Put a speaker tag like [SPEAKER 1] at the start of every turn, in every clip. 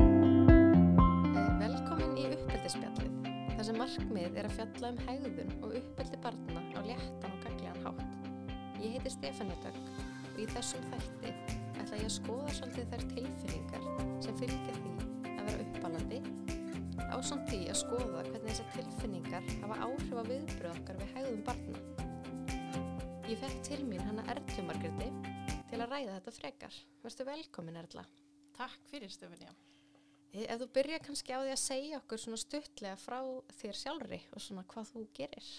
[SPEAKER 1] um Ég heiti Stefania Dögg og í þessum þætti ætla ég að skoða svolítið þær tilfinningar sem fylgja því að vera uppalandi á samt því að skoða hvernig þessar tilfinningar hafa áhrif á viðbröð okkar við hægðum barna. Ég fekk til mín hana Erlu Margreti til að ræða þetta frekar. Verstu velkomin Erla.
[SPEAKER 2] Takk fyrir Stefania.
[SPEAKER 1] E- Ef þú byrja kannski á því að segja okkur svona stuttlega frá þér sjálfri og svona hvað þú gerir.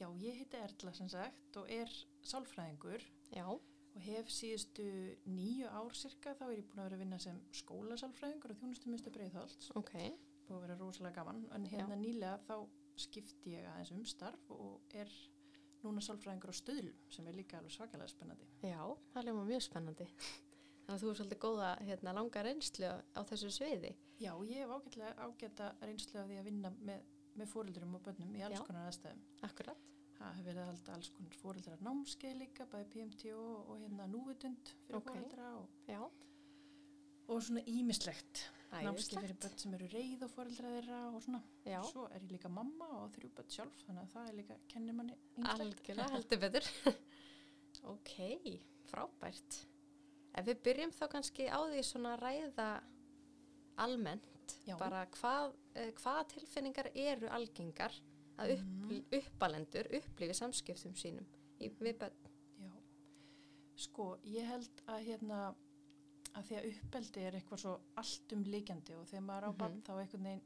[SPEAKER 2] Já, ég heiti Erla sem sagt og er sálfræðingur
[SPEAKER 1] Já,
[SPEAKER 2] og hef síðustu nýju ár cirka þá er ég búin að vera að vinna sem skólasálfræðingur og þjónustumistu breyðhald
[SPEAKER 1] ok.
[SPEAKER 2] búið að vera rosalega gaman en hérna nýlega þá skipti ég aðeins um starf og er núna sálfræðingur á stöðlum sem er líka alveg svakalega spennandi.
[SPEAKER 1] Já, það ljóma mjög spennandi. Þannig að þú er svolítið góða hérna, langa reynslu á þessu sviði.
[SPEAKER 2] Já, ég hef ágætlega ágæta reynslu af því að vinna með, með fóreldurum og börnum í alls
[SPEAKER 1] Já.
[SPEAKER 2] konar aðstæðum.
[SPEAKER 1] Akkurat.
[SPEAKER 2] Það hefur verið að halda alls konar fóreldrar námskeið líka, bæði PMT og, og hérna núvitund fyrir
[SPEAKER 1] Ok.
[SPEAKER 2] okay. fóreldra og
[SPEAKER 1] Já.
[SPEAKER 2] og svona ímislegt námskeið fyrir
[SPEAKER 1] Æðislegt.
[SPEAKER 2] börn sem eru reyð og foreldra þeirra og svona
[SPEAKER 1] Já,
[SPEAKER 2] svo er ég líka mamma og þrjú börn sjálf þannig að það er líka, kennir manni ýmislegt.
[SPEAKER 1] algjörlega heldur betur. ok, frábært. Ef við byrjum þá kannski á því svona að ræða almennt,
[SPEAKER 2] Já.
[SPEAKER 1] bara hvað, eh, hvaða tilfinningar eru algengar að upp,
[SPEAKER 2] Mhm,
[SPEAKER 1] uppalendur upplifi samskiptum sínum í, við börn.
[SPEAKER 2] Já. sko, ég held að hérna að því að uppeldi er eitthvað svo allt um líkjandi og þegar maður er á
[SPEAKER 1] Mhm.
[SPEAKER 2] barn þá einhvern veginn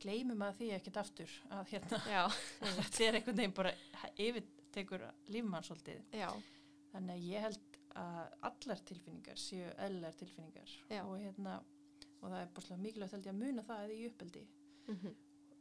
[SPEAKER 2] gleymum að því ekkert aftur að hérna
[SPEAKER 1] Já,
[SPEAKER 2] þetta er einhvern veginn bara yfir tekur lífmann svolítið
[SPEAKER 1] já,
[SPEAKER 2] Þannig að ég held að allar tilfinningar séu eðlar tilfinningar
[SPEAKER 1] Já.
[SPEAKER 2] og hérna og það er búinlega mikilvægt held ég að muna það eða í uppeldi.
[SPEAKER 1] mhm,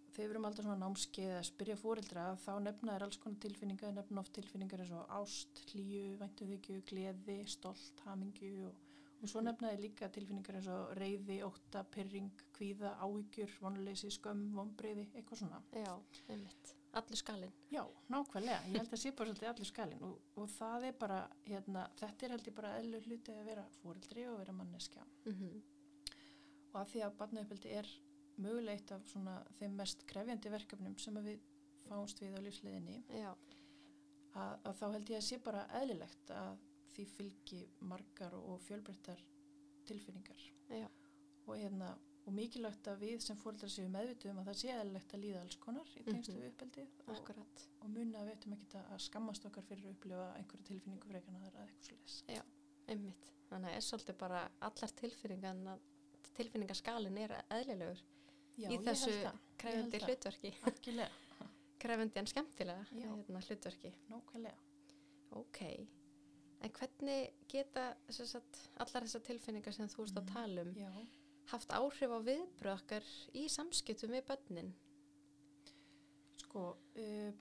[SPEAKER 2] Þegar við erum alltaf svona námskeið að spyrja fóreldra þá nefna þær alls konar tilfinningar, nefna oft tilfinningar eins og ást, hlíu, væntuðikju, gleði, stolt, hamingju og, og svo nefna þær líka tilfinningar eins og reyði, ótta, pyrring, kvíða, áhyggjur, vonuleysi, skömm, vonbreyði, eitthvað svona.
[SPEAKER 1] já, einmitt. Allur skalinn.
[SPEAKER 2] Já, nákvæmlega, ég held að sé bara svolítið allir skalinn og, og það er bara, hérna, þetta er held ég bara eðlu hluti að vera fóreldri og vera manneskja
[SPEAKER 1] Mhm,
[SPEAKER 2] og að því að barnauppeldi er mögulega eitt af svona þeim mest krefjandi verkefnum sem að við fáumst við á lífsliðinni
[SPEAKER 1] Já,
[SPEAKER 2] að, að þá held ég að sé bara eðlilegt að því fylgi margar og, og fjölbreyttar tilfinningar
[SPEAKER 1] já,
[SPEAKER 2] og hérna, og mikilvægt að við sem fóreldrar séum meðvituð um að það sé eðlilegt að líða alls konar í tengstu
[SPEAKER 1] Mhm.
[SPEAKER 2] við uppeldið og,
[SPEAKER 1] akkurat.
[SPEAKER 2] og munna að við ættum ekkert að skammast okkar fyrir að upplifa einhverja tilfinningu frekar en aðra eða eitthvað slags.
[SPEAKER 1] Einmitt. Þannig að er svolítið bara allar tilfinningar tilfinningaskalin er eðlilegur
[SPEAKER 2] Já,
[SPEAKER 1] í
[SPEAKER 2] ég
[SPEAKER 1] þessu
[SPEAKER 2] held það,
[SPEAKER 1] krefandi
[SPEAKER 2] held það.
[SPEAKER 1] hlutverki
[SPEAKER 2] algjörlega,
[SPEAKER 1] krefandi en skemmtilega
[SPEAKER 2] Já.
[SPEAKER 1] hérna, hlutverki
[SPEAKER 2] nákvæmlega.
[SPEAKER 1] ok, en hvernig geta sem sagt, allar þessar tilfinningar sem þú ert að
[SPEAKER 2] Mhm.
[SPEAKER 1] tala um
[SPEAKER 2] Já,
[SPEAKER 1] haft áhrif á viðbröð okkar í samskiptum við börnin
[SPEAKER 2] sko, uh,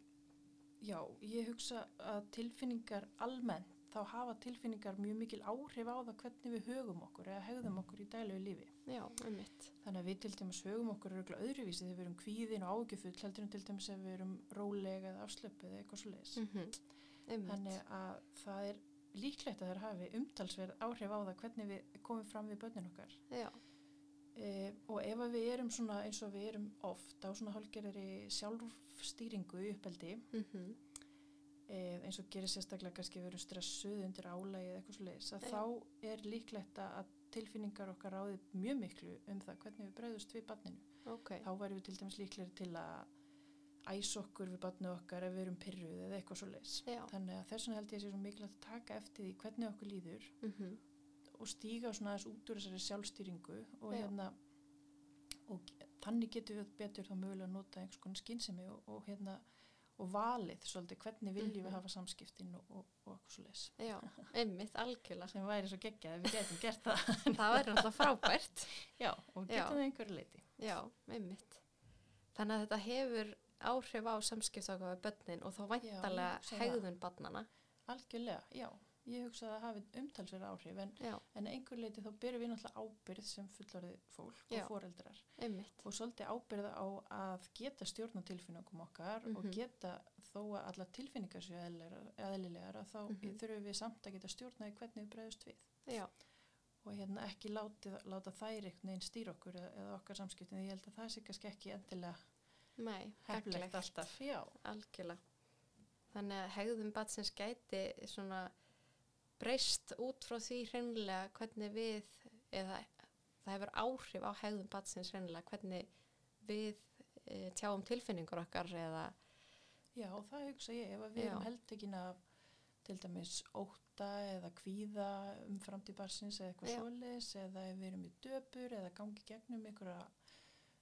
[SPEAKER 2] já, ég hugsa að tilfinningar almennt, þá hafa tilfinningar mjög mikil áhrif á það hvernig við högum okkur eða hegðum okkur í dælu lífi.
[SPEAKER 1] já, einmitt
[SPEAKER 2] Þannig að við til dæmis högum okkur örgulega öðruvísi þegar við erum kvíðin og ágjöfull, heldur en til dæmis ef við erum rólega eða afslöpuð eða eitthvað svo leiðis.
[SPEAKER 1] mm einmitt,
[SPEAKER 2] Þannig að það er líklegt að þær hafi umtalsverð áhrif á það hvernig við komum fram við börnin okkar.
[SPEAKER 1] já,
[SPEAKER 2] E, og ef að við erum svona eins og við erum oft á svona hálgerðari sjálfstýringu í uppeldi,
[SPEAKER 1] mm
[SPEAKER 2] e, eins og gerir sérstaklega kannski við erum stressuð undir álægi eða eitthvað sliðis, að
[SPEAKER 1] Já.
[SPEAKER 2] þá er líklegt að að tilfinningar okkar ráði mjög miklu um það hvernig við bregðust við barninu.
[SPEAKER 1] ok
[SPEAKER 2] Þá væri við til dæmis líklegri til að æsa okkur við barnu okkar ef við erum pyrruð eða eitthvað svo leiðis.
[SPEAKER 1] já,
[SPEAKER 2] Þannig að þess vegna held ég sé svo mikilvægt að taka eftir því hvernig okkur líður
[SPEAKER 1] mm
[SPEAKER 2] og stíga svona aðeins út úr þessari sjálfstýringu og
[SPEAKER 1] Já.
[SPEAKER 2] hérna og ge- þannig getum við betur þá mögulega að nota einhvers konar skynsemi og, og hérna og valið svolítið hvernig viljum
[SPEAKER 1] Mhm.
[SPEAKER 2] við hafa samskiptin og, og, og okkur svo leis
[SPEAKER 1] já, einmitt algjörlega
[SPEAKER 2] sem væri svo geggjað ef við getum gert það
[SPEAKER 1] það væri náttúrulega frábært
[SPEAKER 2] já, og
[SPEAKER 1] Já.
[SPEAKER 2] getum við einhverju leiti
[SPEAKER 1] Já, einmitt. Þannig að þetta hefur áhrif á samskipt okkar við börnin og þá
[SPEAKER 2] ég hugsa
[SPEAKER 1] væntalega
[SPEAKER 2] það.
[SPEAKER 1] hegðun barnana.
[SPEAKER 2] algjörlega, já, ég hugsa að það hafi umtalsverð áhrif en,
[SPEAKER 1] Já,
[SPEAKER 2] en einhverju leiti þá byrjum við náttúrulega ábyrð sem fullorðið fólk
[SPEAKER 1] Já.
[SPEAKER 2] og foreldrar
[SPEAKER 1] einmitt.
[SPEAKER 2] og svolítið ábyrða á að geta stjórna tilfinningum okkar
[SPEAKER 1] Mhm.
[SPEAKER 2] og geta þó að alla tilfinningar séu eðlilegar, eðlilegar að þá
[SPEAKER 1] Mhm.
[SPEAKER 2] þurfum við samt að geta stjórnaði hvernig við bregðust við
[SPEAKER 1] Já,
[SPEAKER 2] og hérna ekki láti, láta þær einhvern veginn stýra okkur eða, eða okkar samskiptin því ég held að það sé kannski ekki endilega
[SPEAKER 1] nei,
[SPEAKER 2] heflegt
[SPEAKER 1] gagnlegt.
[SPEAKER 2] alltaf já,
[SPEAKER 1] Algjörlega. þannig að hegðum batsins gæti svona breyst út frá því hreinlega hvernig við eða það hefur áhrif á hegðum batsins hreinlega hvernig við e, tjáum tilfinningur okkar eða
[SPEAKER 2] Já, og það hugsa ég, ef að við
[SPEAKER 1] Já.
[SPEAKER 2] erum heldekin af til dæmis óta eða kvíða um framtíð barsins eða eitthvað
[SPEAKER 1] Já.
[SPEAKER 2] svoleiðis eða ef við erum í döpur eða gangi gegnum einhverja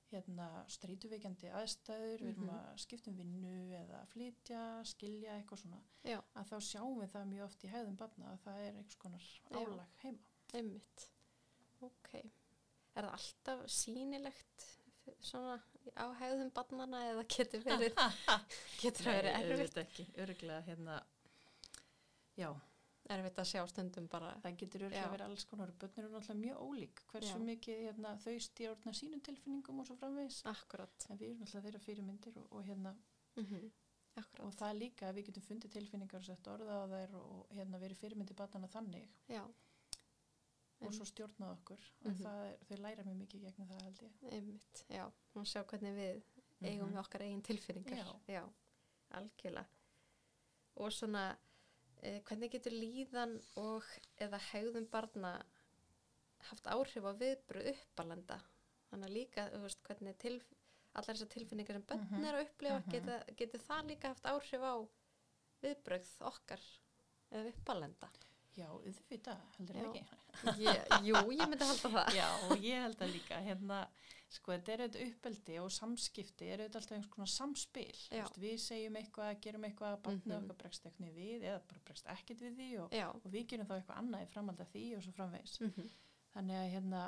[SPEAKER 2] hérna, strítuveikjandi aðstæður, við erum
[SPEAKER 1] Mhm.
[SPEAKER 2] að skipta um vinnu eða flytja, skilja eitthvað svona,
[SPEAKER 1] Já.
[SPEAKER 2] að þá sjáum við það mjög oft í hæðum barna að það er einhvers konar
[SPEAKER 1] Já.
[SPEAKER 2] álag heima.
[SPEAKER 1] einmitt ok, er það alltaf sýnilegt f- svona á hegðum barnana eða getur verið getur það verið erfitt
[SPEAKER 3] auðvitað ekki, örgulega hérna já,
[SPEAKER 1] erfitt að sjá stundum bara
[SPEAKER 2] Það getur örgulega
[SPEAKER 1] Já.
[SPEAKER 2] verið alls konar, börnir eru náttúrulega mjög ólík, hversu
[SPEAKER 1] Já.
[SPEAKER 2] mikið hérna, þau stjórna sínum tilfinningum og svo framvegis.
[SPEAKER 1] akkurat
[SPEAKER 2] En við erum alltaf þeirra fyrirmyndir og, og hérna
[SPEAKER 1] mm
[SPEAKER 2] og
[SPEAKER 1] akkurat,
[SPEAKER 2] það er líka að við getum fundið tilfinningar og sett orða á þær og, og hérna verið fyrirmyndi batana þannig
[SPEAKER 1] já
[SPEAKER 2] og
[SPEAKER 1] Einmitt.
[SPEAKER 2] svo stjórnað okkur mm
[SPEAKER 1] Mhm.
[SPEAKER 2] það er, þau læra mjög mikið gegnum það held ég Mhm.
[SPEAKER 1] einmitt, já, nú sjá hvernig við eigum við okkar eigin tilfinningar
[SPEAKER 2] Já.
[SPEAKER 1] algjörlega og svona eh, hvernig getur líðan og eða hegðum barna haft áhrif á viðbröð uppalenda þannig að líka, þú veist, hvernig til, allar þessar tilfinningar sem bönn
[SPEAKER 2] Mhm.
[SPEAKER 1] er að upplifa
[SPEAKER 2] Mhm.
[SPEAKER 1] geta, getur það líka haft áhrif á viðbröð okkar eða uppalenda
[SPEAKER 2] já, auðvitað heldur
[SPEAKER 1] Já.
[SPEAKER 2] það ekki
[SPEAKER 1] ég, jú, ég myndi halda það
[SPEAKER 2] já, og ég held það líka hérna, sko, þetta er auðvitað uppeldi og samskipti er auðvitað alltaf einhvers konar samspil
[SPEAKER 1] Já.
[SPEAKER 2] Vist, við segjum eitthvað, gerum eitthvað barnið
[SPEAKER 1] Mhm.
[SPEAKER 2] okkar bregst eitthvað við eða bara bregst ekkert við því og,
[SPEAKER 1] já,
[SPEAKER 2] og við gerum þá eitthvað annað í framhald af því og svo framvegis
[SPEAKER 1] mm
[SPEAKER 2] þannig að hérna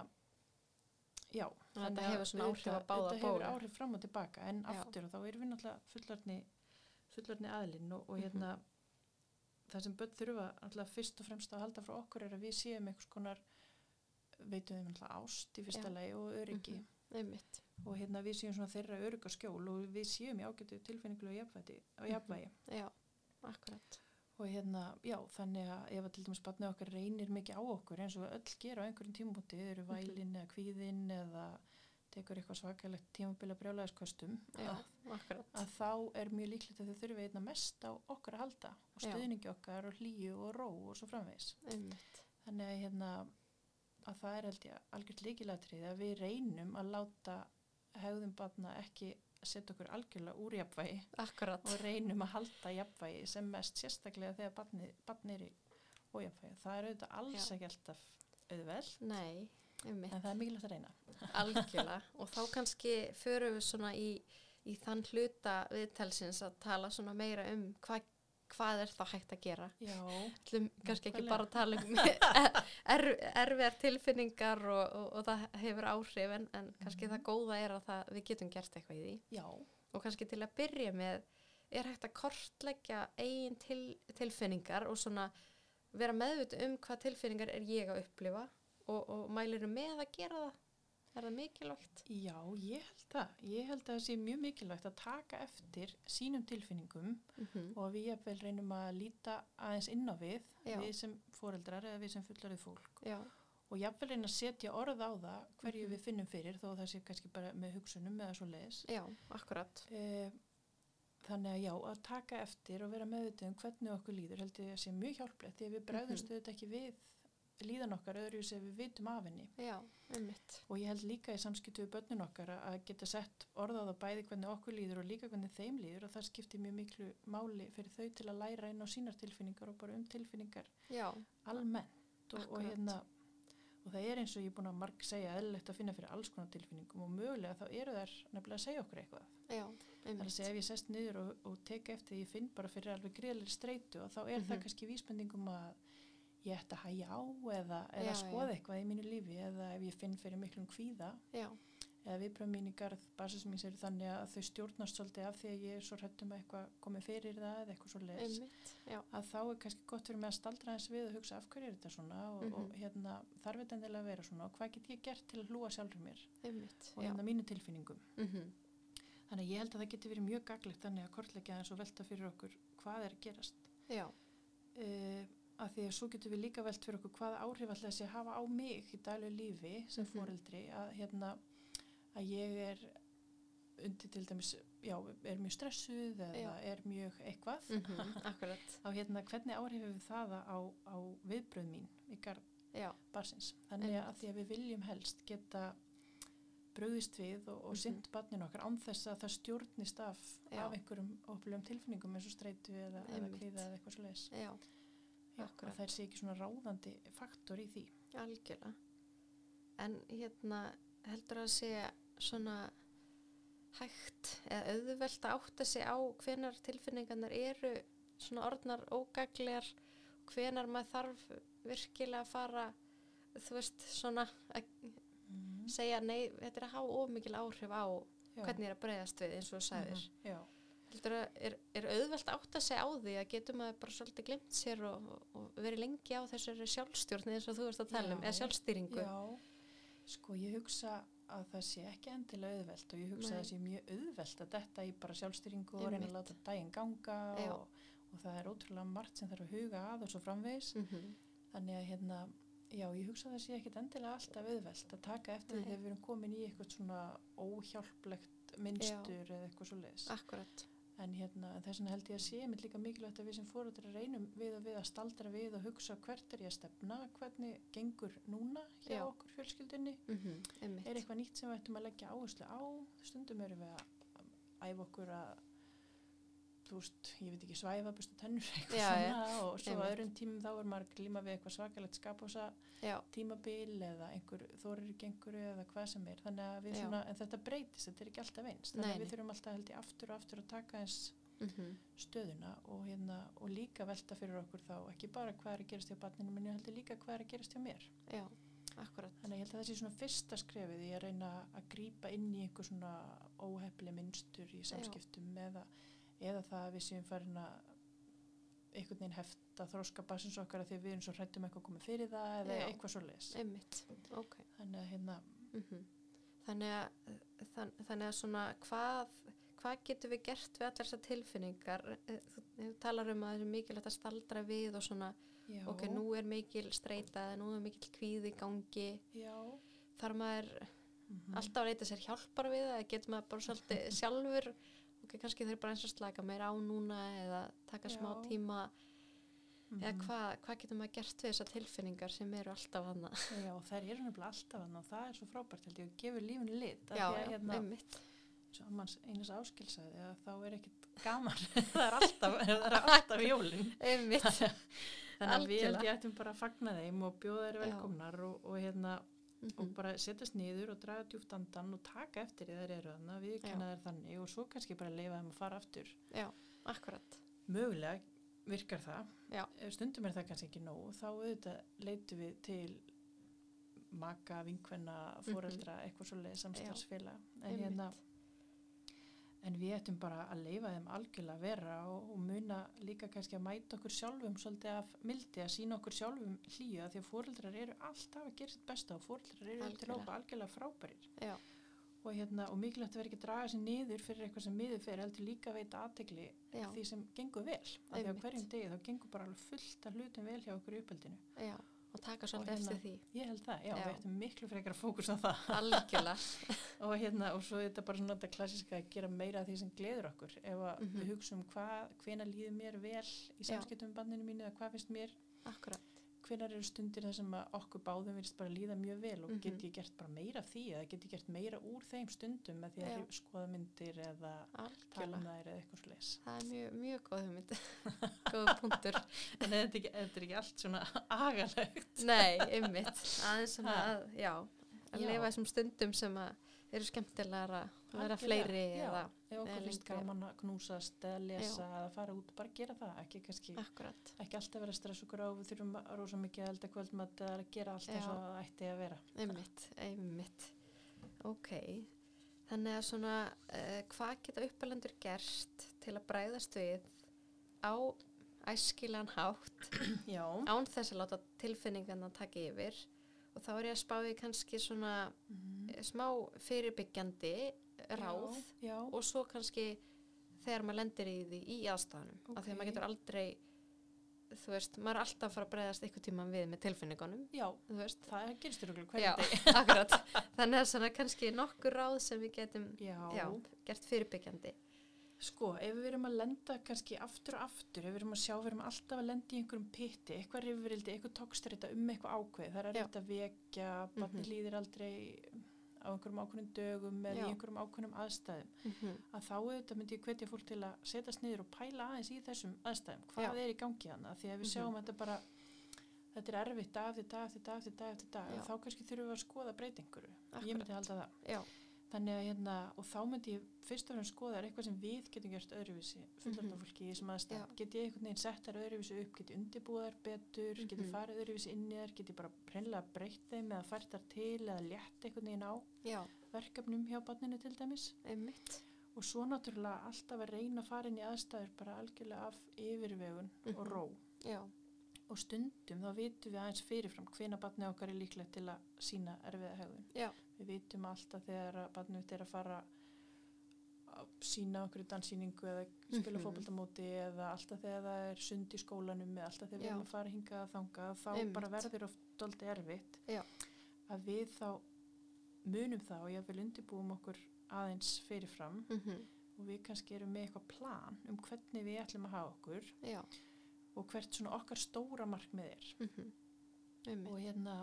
[SPEAKER 2] Já,
[SPEAKER 1] Þannig að þetta
[SPEAKER 2] að
[SPEAKER 1] hefur svona áhrif
[SPEAKER 2] auðvitað-
[SPEAKER 1] á báða
[SPEAKER 2] Þetta hefur
[SPEAKER 1] bóla.
[SPEAKER 2] áhrif fram og tilbaka en
[SPEAKER 1] Já.
[SPEAKER 2] aftur og þá erum við náttúrulega fullorðni, fullorðni aðlinn og, og hérna
[SPEAKER 1] Mhm.
[SPEAKER 2] það sem börn þurfa náttúrulega fyrst og fremst að halda frá okkur er að við séum einhvers konar veitum við náttúrulega ást í fyrsta
[SPEAKER 1] Já. Mhm.
[SPEAKER 2] lagi og öryggi
[SPEAKER 1] einmitt
[SPEAKER 2] og hérna við séum svona þeirra örygg og skjól og við séum í ágætu tilfinningulega jafnvægi,
[SPEAKER 1] Mhm.
[SPEAKER 2] jafnvægi
[SPEAKER 1] já, akkurat
[SPEAKER 2] og hérna, já, þannig að ef að til dæmis barnið okkar reynir mikið á okkur eins og við öll gera á einhverjum tímabúti þau eru
[SPEAKER 1] Mhm.
[SPEAKER 2] vælin eða kvíðin eða tekur eitthvað svakalegt tímabil að brjálæðiskostum
[SPEAKER 1] já,
[SPEAKER 2] að,
[SPEAKER 1] akkurat
[SPEAKER 2] að þá er mjög líklegt að þau þurfi einna mest á okkur að halda og
[SPEAKER 1] Já.
[SPEAKER 2] stuðningi okkar og hlýju og ró og svo framvegis
[SPEAKER 1] einmitt,
[SPEAKER 2] þannig að hérna að það er held ég algjört líkilatrið að við reynum að láta hegðum barna ekki setja okkur algjörlega úr jafnvægi
[SPEAKER 1] akkurat
[SPEAKER 2] og reynum að halda jafnvægi sem mest sérstaklega þegar barni, barni er í ójafnvægi. Það er auðvitað alls
[SPEAKER 1] Já.
[SPEAKER 2] ekki alltaf auðveld,
[SPEAKER 1] Nei,
[SPEAKER 2] en
[SPEAKER 1] einmitt,
[SPEAKER 2] það er mikilvægt að reyna.
[SPEAKER 1] algjörlega og þá kannski förum við svona í, í þann hluta viðtalsins að tala svona meira um hva, hvað er þá hægt að gera
[SPEAKER 2] Já,
[SPEAKER 1] Ætlum kannski ekki
[SPEAKER 2] Nákvæmlega.
[SPEAKER 1] bara að tala um er, er- erfiðar tilfinningar og, og, og það hefur áhrif en, en kannski
[SPEAKER 2] Mhm.
[SPEAKER 1] það góða er að það, við getum gert eitthvað í því
[SPEAKER 2] já,
[SPEAKER 1] og kannski til að byrja með er hægt að kortleggja eigin til, tilfinningar og svona vera meðvita um hvað tilfinningar er ég að upplifa og, og mæliru með að gera það er það mikilvægt
[SPEAKER 2] já, ég held það. Ég held að það sé mjög mikilvægt að taka eftir sínum tilfinningum
[SPEAKER 1] Mhm.
[SPEAKER 2] og að við jafnvel reynum að líta aðeins inn á við,
[SPEAKER 1] Já.
[SPEAKER 2] við sem foreldrar eða við sem fullarið fólk
[SPEAKER 1] já,
[SPEAKER 2] og jafnvel reyna að setja orð á það hverju
[SPEAKER 1] Mhm.
[SPEAKER 2] við finnum fyrir þó að það sé kannski bara með hugsunum eða svo leiðis.
[SPEAKER 1] já, akkurat
[SPEAKER 2] Eh, Þannig að já, að taka eftir og vera meðvitið um hvernig okkur líður held ég að sé mjög hjálplegt því að við bregðumst
[SPEAKER 1] Mhm.
[SPEAKER 2] auðvitað ekki við líðan okkar öðru sem við vitum af henni
[SPEAKER 1] já, einmitt
[SPEAKER 2] og ég held líka í samskiptu við börnin okkar að- að geta sett orðað á bæði hvernig okkur líður og líka hvernig þeim líður og það skiptir mjög miklu máli fyrir þau til að læra inn á sínar tilfinningar og bara um tilfinningar
[SPEAKER 1] já,
[SPEAKER 2] almennt og, og
[SPEAKER 1] Akkúrat.
[SPEAKER 2] hérna og það er eins og ég er búin að marg segja eðlilegt að finna fyrir alls konar tilfinningum og mögulega þá eru þær nefnilega að segja okkur eitthvað
[SPEAKER 1] já,
[SPEAKER 2] Það er að
[SPEAKER 1] einmitt
[SPEAKER 2] segja ef ég sest niður og, og teka eftir því ég finn bara fyrir alveg greiðlega streitu og þá er það
[SPEAKER 1] Mhm.
[SPEAKER 2] kannski vísbendingum að ég ætti að hægja á eða, eða
[SPEAKER 1] Já,
[SPEAKER 2] skoða eitthvað í mínu lífi eða ef ég finn fyrir miklum kvíða
[SPEAKER 1] já,
[SPEAKER 2] eða viðbröð mín í garð basis mín sér þannig að þau stjórnast svolítið af því að ég er svo hrættum að eitthvað komið fyrir það eða eitthvað svo leis
[SPEAKER 1] einmitt já,
[SPEAKER 2] að þá er kannski gott fyrir mig að staldra eins við og hugsa af hverju er þetta svona og, og
[SPEAKER 1] Mhm.
[SPEAKER 2] hérna þarf þetta endilega að vera svona og hvað get ég gert til að hlúa sjálfur mér
[SPEAKER 1] einmitt
[SPEAKER 2] og
[SPEAKER 1] já,
[SPEAKER 2] hérna mínu tilfinningum
[SPEAKER 1] mhm,
[SPEAKER 2] Þannig að ég held að það geti verið mjög gaglegt þannig að kortleggja aðeins og velta fyrir okkur hvað er að gerast.
[SPEAKER 1] já,
[SPEAKER 2] Uh, að því að svo getum við líka velt fyrir okkur hvaða áhrif alltaf sé að hafa á mig í dælu lífi sem
[SPEAKER 1] Mhm.
[SPEAKER 2] foreldri að, hérna, að ég er undir til dæmis, já, er mjög stressuð eða
[SPEAKER 1] Já.
[SPEAKER 2] er mjög eitthvað
[SPEAKER 1] mm akkurat,
[SPEAKER 2] þá hérna hvernig áhrif hefur það á, á viðbröð mín ykkar
[SPEAKER 1] já,
[SPEAKER 2] barsins þannig að,
[SPEAKER 1] Einmitt.
[SPEAKER 2] því að við viljum helst geta brugðist við og, og
[SPEAKER 1] Mhm.
[SPEAKER 2] sint barninu okkar án þess að það stjórnist af,
[SPEAKER 1] Já.
[SPEAKER 2] af einhverjum óbljum tilfinningum eins og streitu eða, eða
[SPEAKER 1] Einmitt.
[SPEAKER 2] kvíða eða eitthvað svo leiðis
[SPEAKER 1] já,
[SPEAKER 2] og
[SPEAKER 1] Akkúrat.
[SPEAKER 2] það sé ekki svona ráðandi faktor í því
[SPEAKER 1] algjörlega en hérna heldur að sé svona hægt eða auðvelt að átta sig á hvenar tilfinningarnar eru svona orðnar ógaglegar hvenar maður þarf virkilega að fara þú veist svona að
[SPEAKER 2] mm.
[SPEAKER 1] segja nei, þetta er að hafa ómikil áhrif á Mhm. hvernig ég er að breyðast við eins og þú sagðir
[SPEAKER 2] Mhm. Já,
[SPEAKER 1] heldur að er, er auðvelt að átta sig á því að getur maður bara svolítið glimt sér og, og verið lengi á þessari sjálfstjórn eins og þú ert að tala um,
[SPEAKER 2] Já.
[SPEAKER 1] eða sjálfstýringu
[SPEAKER 2] já, sko ég hugsa að það sé ekki endilega auðvelt og ég hugsa að
[SPEAKER 1] Nei.
[SPEAKER 2] það sé mjög auðvelt að detta í bara sjálfstyringu og reyna
[SPEAKER 1] Einmitt.
[SPEAKER 2] að láta daginn ganga
[SPEAKER 1] Já.
[SPEAKER 2] og, og það er ótrúlega margt sem þarf að huga að og svo framvegis
[SPEAKER 1] mm
[SPEAKER 2] þannig að hérna, já, ég hugsa að það sé ekkit endilega alltaf auðvelt að taka eftir
[SPEAKER 1] Nei.
[SPEAKER 2] þegar við erum komin í eitthvað svona óhjálplegt mynstur eða eitthvað svo
[SPEAKER 1] Ah.
[SPEAKER 2] leiðis
[SPEAKER 1] Akkurat,
[SPEAKER 2] en hérna, en þess vegna held ég að sé mitt líka mikilvægt að við sem fóruður reynum við og við að staldra við og hugsa hvert er ég að stefna hvernig gengur núna hjá
[SPEAKER 1] Já.
[SPEAKER 2] okkur fjölskyldunni
[SPEAKER 1] mm -hmm.
[SPEAKER 2] er
[SPEAKER 1] einmitt,
[SPEAKER 2] eitthvað nýtt sem við ættum að leggja áherslu á stundum erum við að æfa okkur að þú veist, ég veit ekki svæfa busta tennur eitthvað
[SPEAKER 1] Já, já,
[SPEAKER 2] svona og svo
[SPEAKER 1] einmitt.
[SPEAKER 2] á öðrum tímum þá er maður að glíma við eitthvað svakalegt skapósa
[SPEAKER 1] já,
[SPEAKER 2] tímabil eða einhver þórir ekki einhverju eða hvað sem er þannig að við
[SPEAKER 1] Já.
[SPEAKER 2] svona, en þetta breytist, þetta er ekki alltaf eins þannig
[SPEAKER 1] Nei,
[SPEAKER 2] að
[SPEAKER 1] nei.
[SPEAKER 2] við þurfum alltaf held ég aftur og aftur að taka eins
[SPEAKER 1] mm
[SPEAKER 2] Mhm. stöðuna og, hérna, og líka velta fyrir okkur þá ekki bara hvað er að gerast hjá barninu minni heldur líka hvað er að gerast hjá mér
[SPEAKER 1] já, akkurat,
[SPEAKER 2] þannig að ég held að það sé svona fyrsta skrefið í að reyna að grípa inn í einhver svona óhefli mynstur í samskiptum eða, eða það að við séum farin að einhvern veginn hefta þróska basins okkar að því að við erum svo hrættum eitthvað komið fyrir það eða
[SPEAKER 1] Já.
[SPEAKER 2] eitthvað svo leis
[SPEAKER 1] einmitt, ok.
[SPEAKER 2] þannig að hérna,
[SPEAKER 1] Mm þannig, að, þann, þannig að svona hvað, hvað getum við gert við allar þessar tilfinningar? Eh, Þú, þú talar um að það er mikilvægt að staldra við og svona,
[SPEAKER 2] já,
[SPEAKER 1] ok, nú er mikil streita eða nú er mikil kvíði í gangi,
[SPEAKER 2] já
[SPEAKER 1] þarf maður
[SPEAKER 2] mm
[SPEAKER 1] alltaf að leita sér hjálpar við það, getur maður bara svolítið sjálfur, ok, kannski þeir bara eins og slaka meir á núna eða taka smá
[SPEAKER 2] Já.
[SPEAKER 1] tíma eða
[SPEAKER 2] Mhm.
[SPEAKER 1] hvað hva getur maður gert við þessar tilfinningar sem eru alltaf hana?
[SPEAKER 2] já, og þær eru nefnilega alltaf hann og það er svo frábært held ég og gefur lífinu lit af
[SPEAKER 1] Já,
[SPEAKER 2] því að,
[SPEAKER 1] já,
[SPEAKER 2] hérna,
[SPEAKER 1] einmitt.
[SPEAKER 2] svo að manns eines áskilsaði að þá er ekkit gaman það er alltaf, það er alltaf jólin
[SPEAKER 1] Einmitt.
[SPEAKER 2] þannig að við held
[SPEAKER 1] Algjörlega.
[SPEAKER 2] ég ættum bara að fagna þeim og bjóða þeir
[SPEAKER 1] Já.
[SPEAKER 2] velkomnar og, og hérna og
[SPEAKER 1] Mhm.
[SPEAKER 2] bara setjast niður og draga djúpt andan og taka eftir því þær eru þannig við kenna þær þannig og svo kannski bara leifa þeim að fara aftur
[SPEAKER 1] Já, akkurat.
[SPEAKER 2] mögulega virkar það
[SPEAKER 1] Já.
[SPEAKER 2] Ef stundum er það kannski ekki nóg þá auðvitað leitum við til maka, vinkvenna, foreldra eitthvað svoleið samstarfsfélag
[SPEAKER 1] Mhm.
[SPEAKER 2] en
[SPEAKER 1] Einmitt.
[SPEAKER 2] hérna En við ættum bara að leifa þeim algjörlega að vera og, og muna líka kannski að mæta okkur sjálfum svolítið af mildi að sína okkur sjálfum hlýja því að fóreldrar eru alltaf að gera sitt besta og fóreldrar eru upp til
[SPEAKER 1] Algjörlega.
[SPEAKER 2] hópa algjörlega frábærir
[SPEAKER 1] Já,
[SPEAKER 2] og, hérna, og mikilvægt að vera ekki að draga sér niður fyrir eitthvað sem miður fyrir heldur líka að veita aðtegli
[SPEAKER 1] já,
[SPEAKER 2] því sem gengur vel af því að
[SPEAKER 1] Einmitt.
[SPEAKER 2] hverjum degi þá gengur bara alveg fullt af hlutum vel hjá okkur í uppeldinu
[SPEAKER 1] já. Og taka svolítið
[SPEAKER 2] hérna-
[SPEAKER 1] eftir því.
[SPEAKER 2] ég held það, já,
[SPEAKER 1] Já.
[SPEAKER 2] við ættum miklu frekar að fókus á það
[SPEAKER 1] Algjörlega.
[SPEAKER 2] og hérna, og svo er þetta bara svona þetta klassiska að gera meira af því sem gleður okkur ef að
[SPEAKER 1] Mhm.
[SPEAKER 2] við hugsaum hvað, hvena líður mér vel í
[SPEAKER 1] Já.
[SPEAKER 2] samskiptum með banninu mínu eða hvað finnst mér,
[SPEAKER 1] Akkurat.
[SPEAKER 2] hvenar eru stundir þar sem að okkur báðum virðist bara líða mjög vel og
[SPEAKER 1] Mhm.
[SPEAKER 2] get ég gert bara meira af því eða get ég gert meira úr þeim stundum með því að
[SPEAKER 1] Já.
[SPEAKER 2] hrif- skoða myndir eða tala
[SPEAKER 1] Algjörlega.
[SPEAKER 2] um þær eða eitthvað slags
[SPEAKER 1] Það er mjög, mjög góð hugmynd. Góð punktur.
[SPEAKER 2] en þetta er ekki, þetta er ekki allt svona agalegt
[SPEAKER 1] Nei, einmitt. Aðeins svona
[SPEAKER 2] Ha.
[SPEAKER 1] að, já, að
[SPEAKER 2] Já.
[SPEAKER 1] lifa þessum stundum sem að eru skemmtilegar að vera
[SPEAKER 2] Algjörlega,
[SPEAKER 1] fleiri
[SPEAKER 2] já.
[SPEAKER 1] eða
[SPEAKER 2] Ef
[SPEAKER 1] Eða
[SPEAKER 2] okkur finnst
[SPEAKER 1] lengri.
[SPEAKER 2] gaman að knúsast eða lesa eða fara út, bara gera það, ekki kannski
[SPEAKER 1] Ah. akkurat.
[SPEAKER 2] ekki alltaf vera að stressa okkur á, við þurfum að rosa mikið að elda kvöldmatt eða að gera allt
[SPEAKER 1] Já.
[SPEAKER 2] eins og það ætti að vera.
[SPEAKER 1] Einmitt, einmitt. Ok, þannig að svona uh, hvað geta uppalendur gert til að bræðast við á æskilegan hátt
[SPEAKER 2] Já,
[SPEAKER 1] án þess að láta tilfinningarna taka yfir og þá er ég að spá í kannski svona
[SPEAKER 2] Mhm.
[SPEAKER 1] eh, smá fyrirbyggjandi ráð
[SPEAKER 2] Já, já.
[SPEAKER 1] og svo kannski þegar maður lendir í því í aðstæðanum af því að
[SPEAKER 2] Ok.
[SPEAKER 1] maður getur aldrei þú veist, maður er alltaf að fara að breyðast eitthvað tíma við með tilfinningunum,
[SPEAKER 2] Já,
[SPEAKER 1] þú veist.
[SPEAKER 2] það gerist þér okkur
[SPEAKER 1] Já,
[SPEAKER 2] hverjum deg.
[SPEAKER 1] akkurat. Þannig að svona kannski nokkur ráð sem við getum
[SPEAKER 2] Já.
[SPEAKER 1] já, gert fyrirbyggjandi.
[SPEAKER 2] Sko, ef við erum að lenda kannski aftur og aftur, ef við erum að sjá, við erum alltaf að lenda í einhverjum pitti, eitthvað rifrildi, eitthvað tókstreita um eitthvað ákveð, það er að
[SPEAKER 1] Já.
[SPEAKER 2] reynda vekja, barni
[SPEAKER 1] Mhm.
[SPEAKER 2] líðir aldrei á einhverjum ákveðnum dögum
[SPEAKER 1] Já.
[SPEAKER 2] eða í einhverjum ákveðnum aðstæðum, að þá auðvitað myndi ég hvetja fólk til að setjast niður og pæla aðeins í þessum aðstæðum, hvað
[SPEAKER 1] Já.
[SPEAKER 2] er í gangi hana, því að við
[SPEAKER 1] Mhm.
[SPEAKER 2] sjáum þetta bara, þetta er erfitt dag eftir dag eftir dag eftir dag eftir dag,
[SPEAKER 1] Já.
[SPEAKER 2] þá kannski þurfum við að skoða breytinguru, ég
[SPEAKER 1] Akkurat.
[SPEAKER 2] myndi halda það.
[SPEAKER 1] Já,
[SPEAKER 2] Þannig að hérna, og þá myndi ég fyrst og fremst skoða er eitthvað sem við getum gert öðruvísi fullorðna
[SPEAKER 1] Mhm.
[SPEAKER 2] fólki í þessum aðstæð.
[SPEAKER 1] Já.
[SPEAKER 2] Get ég einhvern veginn sett þær öðruvísi upp, get ég undirbúið þær betur, mm get ég
[SPEAKER 1] Mhm.
[SPEAKER 2] farið öðruvísi inn í þær, get ég bara preinlega breytt þeim eða fært þær til eða létt einhvern veginn á
[SPEAKER 1] já,
[SPEAKER 2] verkefnum hjá barninu til dæmis.
[SPEAKER 1] einmitt.
[SPEAKER 2] Og svo náttúrulega alltaf að reyna að fara inn í aðstæður bara algjörlega af yfirvegun og
[SPEAKER 1] Mhm.
[SPEAKER 2] ró.
[SPEAKER 1] Já,
[SPEAKER 2] Og stundum þá vitum við aðeins fyrirfram hvena barni okkar er líklegt til að sína erfiða hegðun
[SPEAKER 1] já,
[SPEAKER 2] við vitum alltaf þegar að barnið mitt er að fara að sína okkur dansýningu eða
[SPEAKER 1] Mhm.
[SPEAKER 2] spila mm -hmm. fótboltamóti eða alltaf þegar það er sund í skólanum eða alltaf þegar við
[SPEAKER 1] Já.
[SPEAKER 2] erum að fara hingað að þangað þá
[SPEAKER 1] Einmitt.
[SPEAKER 2] bara verður oft doldið erfitt
[SPEAKER 1] Já.
[SPEAKER 2] að við þá munum það og ég vil undirbúum okkur aðeins fyrirfram
[SPEAKER 1] mhm,
[SPEAKER 2] og við kannski erum með eitthvað plan um hvernig við ætlum að hafa okkur
[SPEAKER 1] já,
[SPEAKER 2] og hvert svona okkar stóra markmið er
[SPEAKER 1] mhm, einmitt.
[SPEAKER 2] og hérna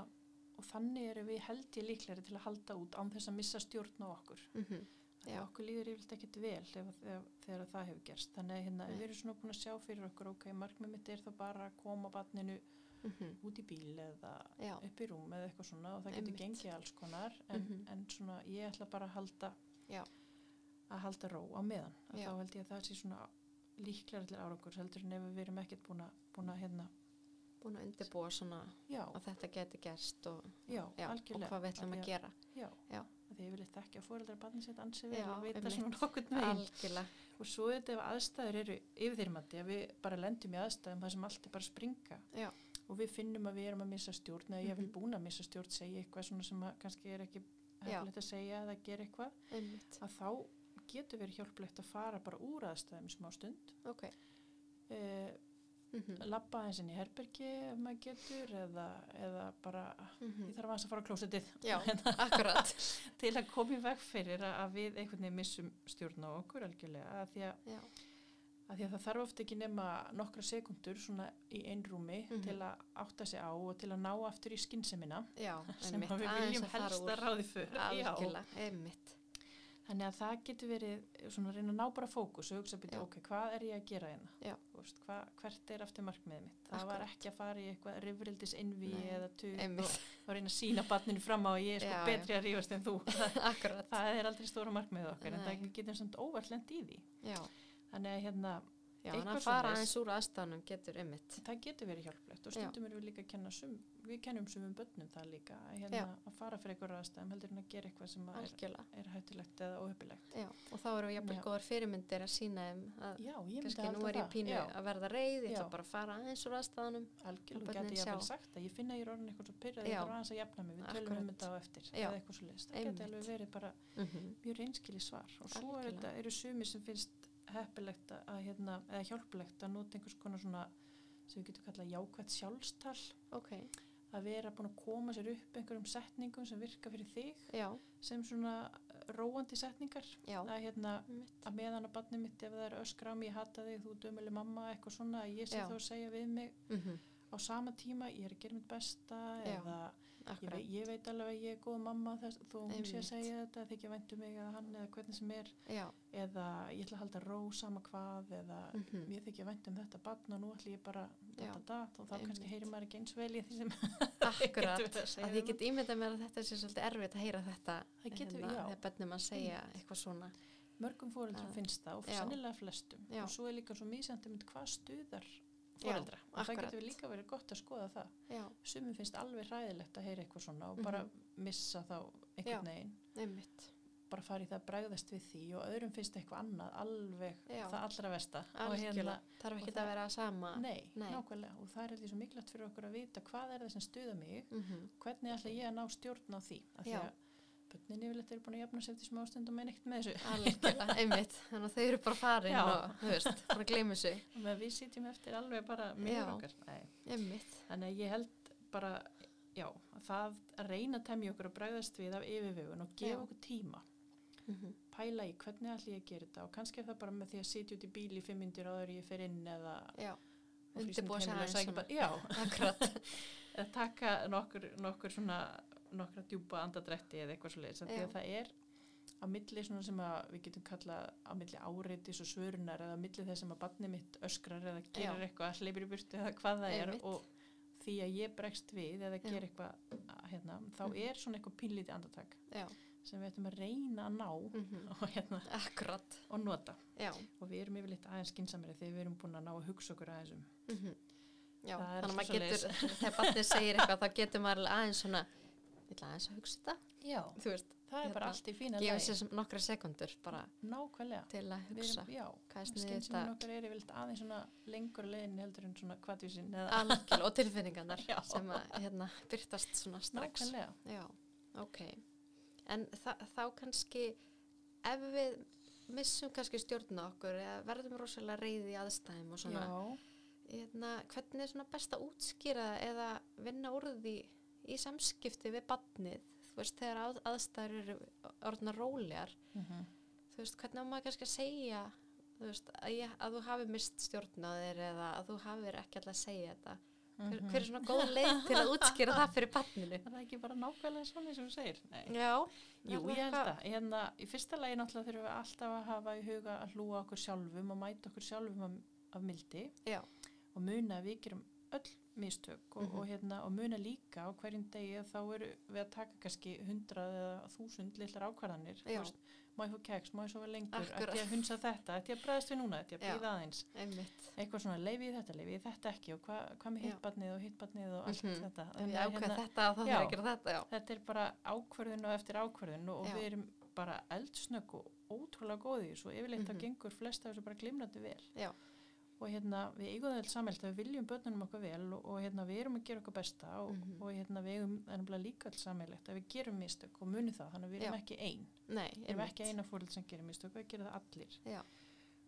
[SPEAKER 2] og þannig erum við held ég líklegri til að halda út án þess að missa stjórn á okkur
[SPEAKER 1] Mhm,
[SPEAKER 2] Já.
[SPEAKER 1] Já.
[SPEAKER 2] okkur líður yfirleitt ekkert vel þegar, þegar, þegar það hefur gerst þannig að hérna,
[SPEAKER 1] Nei.
[SPEAKER 2] við erum svona búin að sjá fyrir okkur ok, markmið mitt er þá bara að koma barninu
[SPEAKER 1] mhm,
[SPEAKER 2] út í bíl eða
[SPEAKER 1] já,
[SPEAKER 2] upp í rúm eða eitthvað svona og það getur
[SPEAKER 1] Einmitt.
[SPEAKER 2] gengið alls konar en,
[SPEAKER 1] Mhm.
[SPEAKER 2] en svona ég ætla bara að halda
[SPEAKER 1] Já.
[SPEAKER 2] að halda ró á meðan að
[SPEAKER 1] Já.
[SPEAKER 2] þá held ég að það sé svona líklar til árangur heldur en ef við erum ekkert búin að, búin að hérna,
[SPEAKER 1] búin að undirbúa svona
[SPEAKER 2] já,
[SPEAKER 1] að þetta geti gerst og,
[SPEAKER 2] já,
[SPEAKER 1] já, og
[SPEAKER 2] algjörlega
[SPEAKER 1] hvað við ætlum
[SPEAKER 2] Af því
[SPEAKER 1] að gera.
[SPEAKER 2] já,
[SPEAKER 1] Já.
[SPEAKER 2] að því ég vil ekki að fóreldra barni sér ansi vel
[SPEAKER 1] Já,
[SPEAKER 2] og veita
[SPEAKER 1] einmitt.
[SPEAKER 2] svona nokkurn veginn
[SPEAKER 1] Algjörlega,
[SPEAKER 2] og svo þetta ef aðstæður eru yfirþyrmandi að við bara lendum í aðstæðum þar sem allt er bara að springa
[SPEAKER 1] Já.
[SPEAKER 2] og við finnum að við erum að missa stjórn eða ég hef
[SPEAKER 1] Mhm.
[SPEAKER 2] búin að missa stjórn segja eitthvað svona sem að kannski er ekki
[SPEAKER 1] Já.
[SPEAKER 2] hefðilegt að segja eða gera eitthvað
[SPEAKER 1] einmitt.
[SPEAKER 2] að þá getur verið hjálplegt að fara bara úr aðstæðum í smá stund
[SPEAKER 1] Ok,
[SPEAKER 2] eh,
[SPEAKER 1] mhm,
[SPEAKER 2] labba aðeins inn í herbergi ef maður getur eða, eða bara
[SPEAKER 1] mhm,
[SPEAKER 2] ég þarf aðeins að hérna. fara á klósetið
[SPEAKER 1] já, akkurat.
[SPEAKER 2] til að koma í veg fyrir að- að við einhvern veginn missum stjórn á okkur algjörlega að því að
[SPEAKER 1] Já,
[SPEAKER 2] að því að það þarf oft ekki nema nokkra sekundur svona í einrúmi
[SPEAKER 1] Mhm.
[SPEAKER 2] til að átta sig á og til að ná aftur í skynnsemina
[SPEAKER 1] já,
[SPEAKER 2] sem
[SPEAKER 1] einmitt.
[SPEAKER 2] að við
[SPEAKER 1] Aðeins
[SPEAKER 2] viljum
[SPEAKER 1] að fara
[SPEAKER 2] helst
[SPEAKER 1] úr.
[SPEAKER 2] að ráði fyrir
[SPEAKER 1] Algjörlega, einmitt.
[SPEAKER 2] þannig að það getur verið svona að reyna að ná bara fókus og hugsa
[SPEAKER 1] Já.
[SPEAKER 2] byrja ok, hvað er ég að gera hérna
[SPEAKER 1] Já.
[SPEAKER 2] Þú veist, hva, hvert er aftur markmiðið mitt það var
[SPEAKER 1] Akkurat.
[SPEAKER 2] ekki að fara í eitthvað rifrildis innví
[SPEAKER 1] Nei,
[SPEAKER 2] eða tug og,
[SPEAKER 1] Einmitt,
[SPEAKER 2] og reyna að sína barninu fram á að ég er sko
[SPEAKER 1] Já, já.
[SPEAKER 2] betri að rífast en þú
[SPEAKER 1] akkurat.
[SPEAKER 2] það er aldrei stóra markmiðið okkar en
[SPEAKER 1] Nei.
[SPEAKER 2] það getur samt óvart lent í því
[SPEAKER 1] Já,
[SPEAKER 2] þannig að hérna
[SPEAKER 1] já, en
[SPEAKER 2] Eitthvað
[SPEAKER 1] að fara
[SPEAKER 2] svoleiðis.
[SPEAKER 1] aðeins úr aðstæðanum getur einmitt.
[SPEAKER 2] það getur verið hjálplegt og
[SPEAKER 1] Já.
[SPEAKER 2] stundum erum við líka að kenna sum, við kennum sumum börnum það líka að hérna, að fara fyrir eitthvað aðstæðum heldur en að gera eitthvað sem að er,
[SPEAKER 1] Algjörlega.
[SPEAKER 2] er hættulegt eða óhefilegt
[SPEAKER 1] Já, og þá eru jafnvel
[SPEAKER 2] Já.
[SPEAKER 1] góðar fyrirmyndir að sína þeim að
[SPEAKER 2] já, ég myndi
[SPEAKER 1] kannski
[SPEAKER 2] halda
[SPEAKER 1] nú er ég
[SPEAKER 2] það.
[SPEAKER 1] pínu
[SPEAKER 2] já,
[SPEAKER 1] að verða reið, ég ætla
[SPEAKER 2] Já.
[SPEAKER 1] bara að fara aðeins úr aðstæðanum. að
[SPEAKER 2] algjörlega
[SPEAKER 1] börnin
[SPEAKER 2] geti ég
[SPEAKER 1] sjá.
[SPEAKER 2] alveg sagt að ég finna að ég er orðin eitthvað svo pyrrað
[SPEAKER 1] Já.
[SPEAKER 2] ég þarf aðeins að jafna mig, við tölum um
[SPEAKER 1] Akkurat.
[SPEAKER 2] þetta á eftir
[SPEAKER 1] Já.
[SPEAKER 2] eða eitthvað svo það
[SPEAKER 1] Einmitt.
[SPEAKER 2] geti alveg verið bara
[SPEAKER 1] Mm
[SPEAKER 2] mjög reynskili svar og svo er
[SPEAKER 1] Algjörlega.
[SPEAKER 2] þetta, eru sumi sem finnst heppilegt að, að, hérna, eða hjálplegt að nota einhvers konar svona sem við getum kallað jákvætt sjálfstal
[SPEAKER 1] Ok,
[SPEAKER 2] að vera búin að koma sér upp einhverjum setningum sem virka fyrir þig
[SPEAKER 1] já,
[SPEAKER 2] sem svona eh, róandi setningar
[SPEAKER 1] já,
[SPEAKER 2] að hérna
[SPEAKER 1] einmitt.
[SPEAKER 2] að meðan að barnið mitt ef það er öskra á mig, ég hata þig, þú dömuleg mamma eitthvað svona, að ég sé
[SPEAKER 1] Já.
[SPEAKER 2] þá að segja við mig
[SPEAKER 1] Mm
[SPEAKER 2] á sama tíma, ég er að gera mitt besta
[SPEAKER 1] Já,
[SPEAKER 2] eða ég,
[SPEAKER 1] Akkurat,
[SPEAKER 2] vei, ég veit alveg að ég er góð mamma þess, þó hún sé
[SPEAKER 1] Einmitt.
[SPEAKER 2] að segja þetta þykja væntu mig eða hann eða hvernig sem er
[SPEAKER 1] já,
[SPEAKER 2] eða ég ætla að halda ró sama hvað eða
[SPEAKER 1] mm
[SPEAKER 2] mér þykja vænt um þetta barn og nú ætla ég bara
[SPEAKER 1] Já,
[SPEAKER 2] da, da, da, og þá
[SPEAKER 1] einmitt.
[SPEAKER 2] kannski heyrir maður ekki eins vel í því sem
[SPEAKER 1] akkurat.
[SPEAKER 2] getur verið að segja
[SPEAKER 1] að ég
[SPEAKER 2] um
[SPEAKER 1] get ímyndað mér að þetta sé svolítið erfitt að heyra þetta hérna,
[SPEAKER 2] Það getur- já.
[SPEAKER 1] þegar bennum að segja eitthvað svona
[SPEAKER 2] mörgum fóreldrum
[SPEAKER 1] Það-
[SPEAKER 2] finnst það og
[SPEAKER 1] já.
[SPEAKER 2] sennilega flestum
[SPEAKER 1] Já.
[SPEAKER 2] og svo er líka svo misjandi mynd hvað stuðar
[SPEAKER 1] Já,
[SPEAKER 2] fóreldra og það
[SPEAKER 1] akkurat.
[SPEAKER 2] getur líka verið gott að skoða það
[SPEAKER 1] já,
[SPEAKER 2] sumum finnst alveg hræðilegt að heyra eitthvað svona og bara missa þá
[SPEAKER 1] Mhm. Já.
[SPEAKER 2] einhvern veginn
[SPEAKER 1] einmitt,
[SPEAKER 2] bara fara í það að bregðast við því og öðrum finnst eitthvað annað alveg
[SPEAKER 1] Já.
[SPEAKER 2] það allra versta og hérna,
[SPEAKER 1] algjörlega þarf ekki
[SPEAKER 2] og
[SPEAKER 1] að
[SPEAKER 2] það-
[SPEAKER 1] vera sama
[SPEAKER 2] nei,
[SPEAKER 1] Nei.
[SPEAKER 2] nákvæmlega og það er allir svo mikilvægt fyrir okkur að vita hvað er það sem stuða mig
[SPEAKER 1] Mhm,
[SPEAKER 2] hvernig ætla ég að ná stjórn á því af því
[SPEAKER 1] Já.
[SPEAKER 2] að bönnin yfirleitt eru búin að jafna sér til smá stund og meina ekkert með þessu.
[SPEAKER 1] algjörlega, einmitt þannig að þau eru bara farin
[SPEAKER 2] Já.
[SPEAKER 1] og þú veist, bara gleymi sig
[SPEAKER 2] Og meðan við sitjum eftir alveg bara með
[SPEAKER 1] Já.
[SPEAKER 2] okkar. Nei.
[SPEAKER 1] einmitt,
[SPEAKER 2] Þannig að ég held bara, já, að það að reyna að temja okkur og bregðast við af yfirvegun og gefa
[SPEAKER 1] Já.
[SPEAKER 2] okkur tíma. Mhm. Pæla í hvernig allir ég að gera þetta og kannski er það bara með því að sitja út í bíl í fimm myndir áður en ég fer inn eða
[SPEAKER 1] já,
[SPEAKER 2] á
[SPEAKER 1] Undirbúa sig
[SPEAKER 2] frístundaheimili og
[SPEAKER 1] aðeins
[SPEAKER 2] sækja
[SPEAKER 1] svona.
[SPEAKER 2] bara- Já,
[SPEAKER 1] akkurat
[SPEAKER 2] að taka nokkur, nokkur svona nokkra djúpa andadrætti eða eitthvað svo leiðis
[SPEAKER 1] Já.
[SPEAKER 2] að það er á milli svona sem að við getum kallað á milli áreitis og svörunar eða á milli þess sem að barni mitt öskrar eða gerir eitthvað, hleypir í burtu eða hvað það er
[SPEAKER 1] Einmitt.
[SPEAKER 2] og því að ég bregst við eða
[SPEAKER 1] Já.
[SPEAKER 2] ger eitthvað hérna, þá
[SPEAKER 1] Mhm.
[SPEAKER 2] er svona eitthvað pínlítið andatak
[SPEAKER 1] já,
[SPEAKER 2] sem við ættum að reyna að ná
[SPEAKER 1] mhm,
[SPEAKER 2] og, hérna,
[SPEAKER 1] akkurat
[SPEAKER 2] og nota
[SPEAKER 1] já,
[SPEAKER 2] og við erum yfirleitt aðeins skinsamri þegar við erum búin að ná að hugsa okkur aðeins um
[SPEAKER 1] mhm já,
[SPEAKER 2] Það er
[SPEAKER 1] þannig að maður
[SPEAKER 2] alltaf
[SPEAKER 1] getur þegar barnið segir eitthvað þá getur maður alveg aðeins svona vill aðeins að hugsa þetta
[SPEAKER 2] Já,
[SPEAKER 1] þú veist,
[SPEAKER 2] það er
[SPEAKER 1] Hérna,
[SPEAKER 2] bara allt í fína
[SPEAKER 1] gefa
[SPEAKER 2] lagi.
[SPEAKER 1] sér sem- nokkra sekundur bara
[SPEAKER 2] Nákvæmlega
[SPEAKER 1] til að
[SPEAKER 2] Við
[SPEAKER 1] hugsa
[SPEAKER 2] erum, já,
[SPEAKER 1] hvað er sniðið
[SPEAKER 2] skynsefin
[SPEAKER 1] þetta
[SPEAKER 2] okkar er yfirleitt aðeins svona lengur leiðin heldur en svona kvartvísin
[SPEAKER 1] Ah,
[SPEAKER 2] eða
[SPEAKER 1] algjörlega og tilfinningarnar
[SPEAKER 2] Já.
[SPEAKER 1] sem að hérna byrtast svona strax
[SPEAKER 2] nákvæmlega.
[SPEAKER 1] Já, ok. En þa þá kannski, ef við missum kannski stjórna okkur eða verðum rosalega reyði í aðstæðum og svona,
[SPEAKER 2] Já,
[SPEAKER 1] hérna, hvernig er svona best að útskýra það eða vinna orði í samskipti við badnið? Þú veist, þegar að, aðstæður eru orðna rólegar,
[SPEAKER 2] mhm.
[SPEAKER 1] þú veist, hvernig á maður kannski að segja þú veist, að, ég, að þú hafi mist stjórnaðir eða að þú hafir ekki alltaf að segja þetta. Hver, hver er svona góð leið til að útskýra það fyrir badninu?
[SPEAKER 2] Mhm. er það ekki bara nákvæmlega svona sem þú segir? Nei.
[SPEAKER 1] Já.
[SPEAKER 2] Jú,
[SPEAKER 1] er
[SPEAKER 2] ég held
[SPEAKER 1] eitthvað-
[SPEAKER 2] það. Hérna, í fyrsta lagi náttúrulega þurfum við alltaf að hafa í huga að hlúa okkur sjálfum og mæta okkur sjálfum af, af mildi
[SPEAKER 1] Já.
[SPEAKER 2] og muna að við gerum öll mistök og,
[SPEAKER 1] Mhm.
[SPEAKER 2] og, hérna, og muna líka á hverjum degi að þá eru við að taka kannski hundrað eða þúsund lillar ákvarðanir. þú
[SPEAKER 1] Já.
[SPEAKER 2] veist, Má ég fá keks, má ég sofa lengur,
[SPEAKER 1] Akkurat.
[SPEAKER 2] ætti ég að hunsa þetta, ætti ég að bregðast við núna, ætti ég að
[SPEAKER 1] Já.
[SPEAKER 2] býða aðeins.
[SPEAKER 1] Einmitt.
[SPEAKER 2] eitthvað svona leifi ég þetta, leifi ég þetta ekki og hvað hva með
[SPEAKER 1] Já.
[SPEAKER 2] hittbarnið og hittbarnið og allt
[SPEAKER 1] Mhm.
[SPEAKER 2] þetta.
[SPEAKER 1] Ef
[SPEAKER 2] Þannig
[SPEAKER 1] ég
[SPEAKER 2] að
[SPEAKER 1] ákveð
[SPEAKER 2] hérna,
[SPEAKER 1] þetta þá þarf ég
[SPEAKER 2] Já.
[SPEAKER 1] að gera þetta, já.
[SPEAKER 2] þetta er bara ákvörðun og eftir ákvörðun og, og
[SPEAKER 1] Já.
[SPEAKER 2] við erum bara eldsnögg og ótrúlega góði svo yfirleitt
[SPEAKER 1] Mhm.
[SPEAKER 2] þá gengur flest af þessu bara glimrandi vel.
[SPEAKER 1] Já.
[SPEAKER 2] Og hérna við eigum það allt samhælt að við viljum börnunum okkar vel og, og hérna við erum að gera okkar besta og,
[SPEAKER 1] Mhm.
[SPEAKER 2] og hérna við eigum ennumlega líka allt samhælt að við gerum mistök og munum það þannig að við erum
[SPEAKER 1] Já.
[SPEAKER 2] ekki einn.
[SPEAKER 1] Nei,
[SPEAKER 2] Við erum ekki eina fóröld sem gerir mistök, við gerum það allir.
[SPEAKER 1] Já.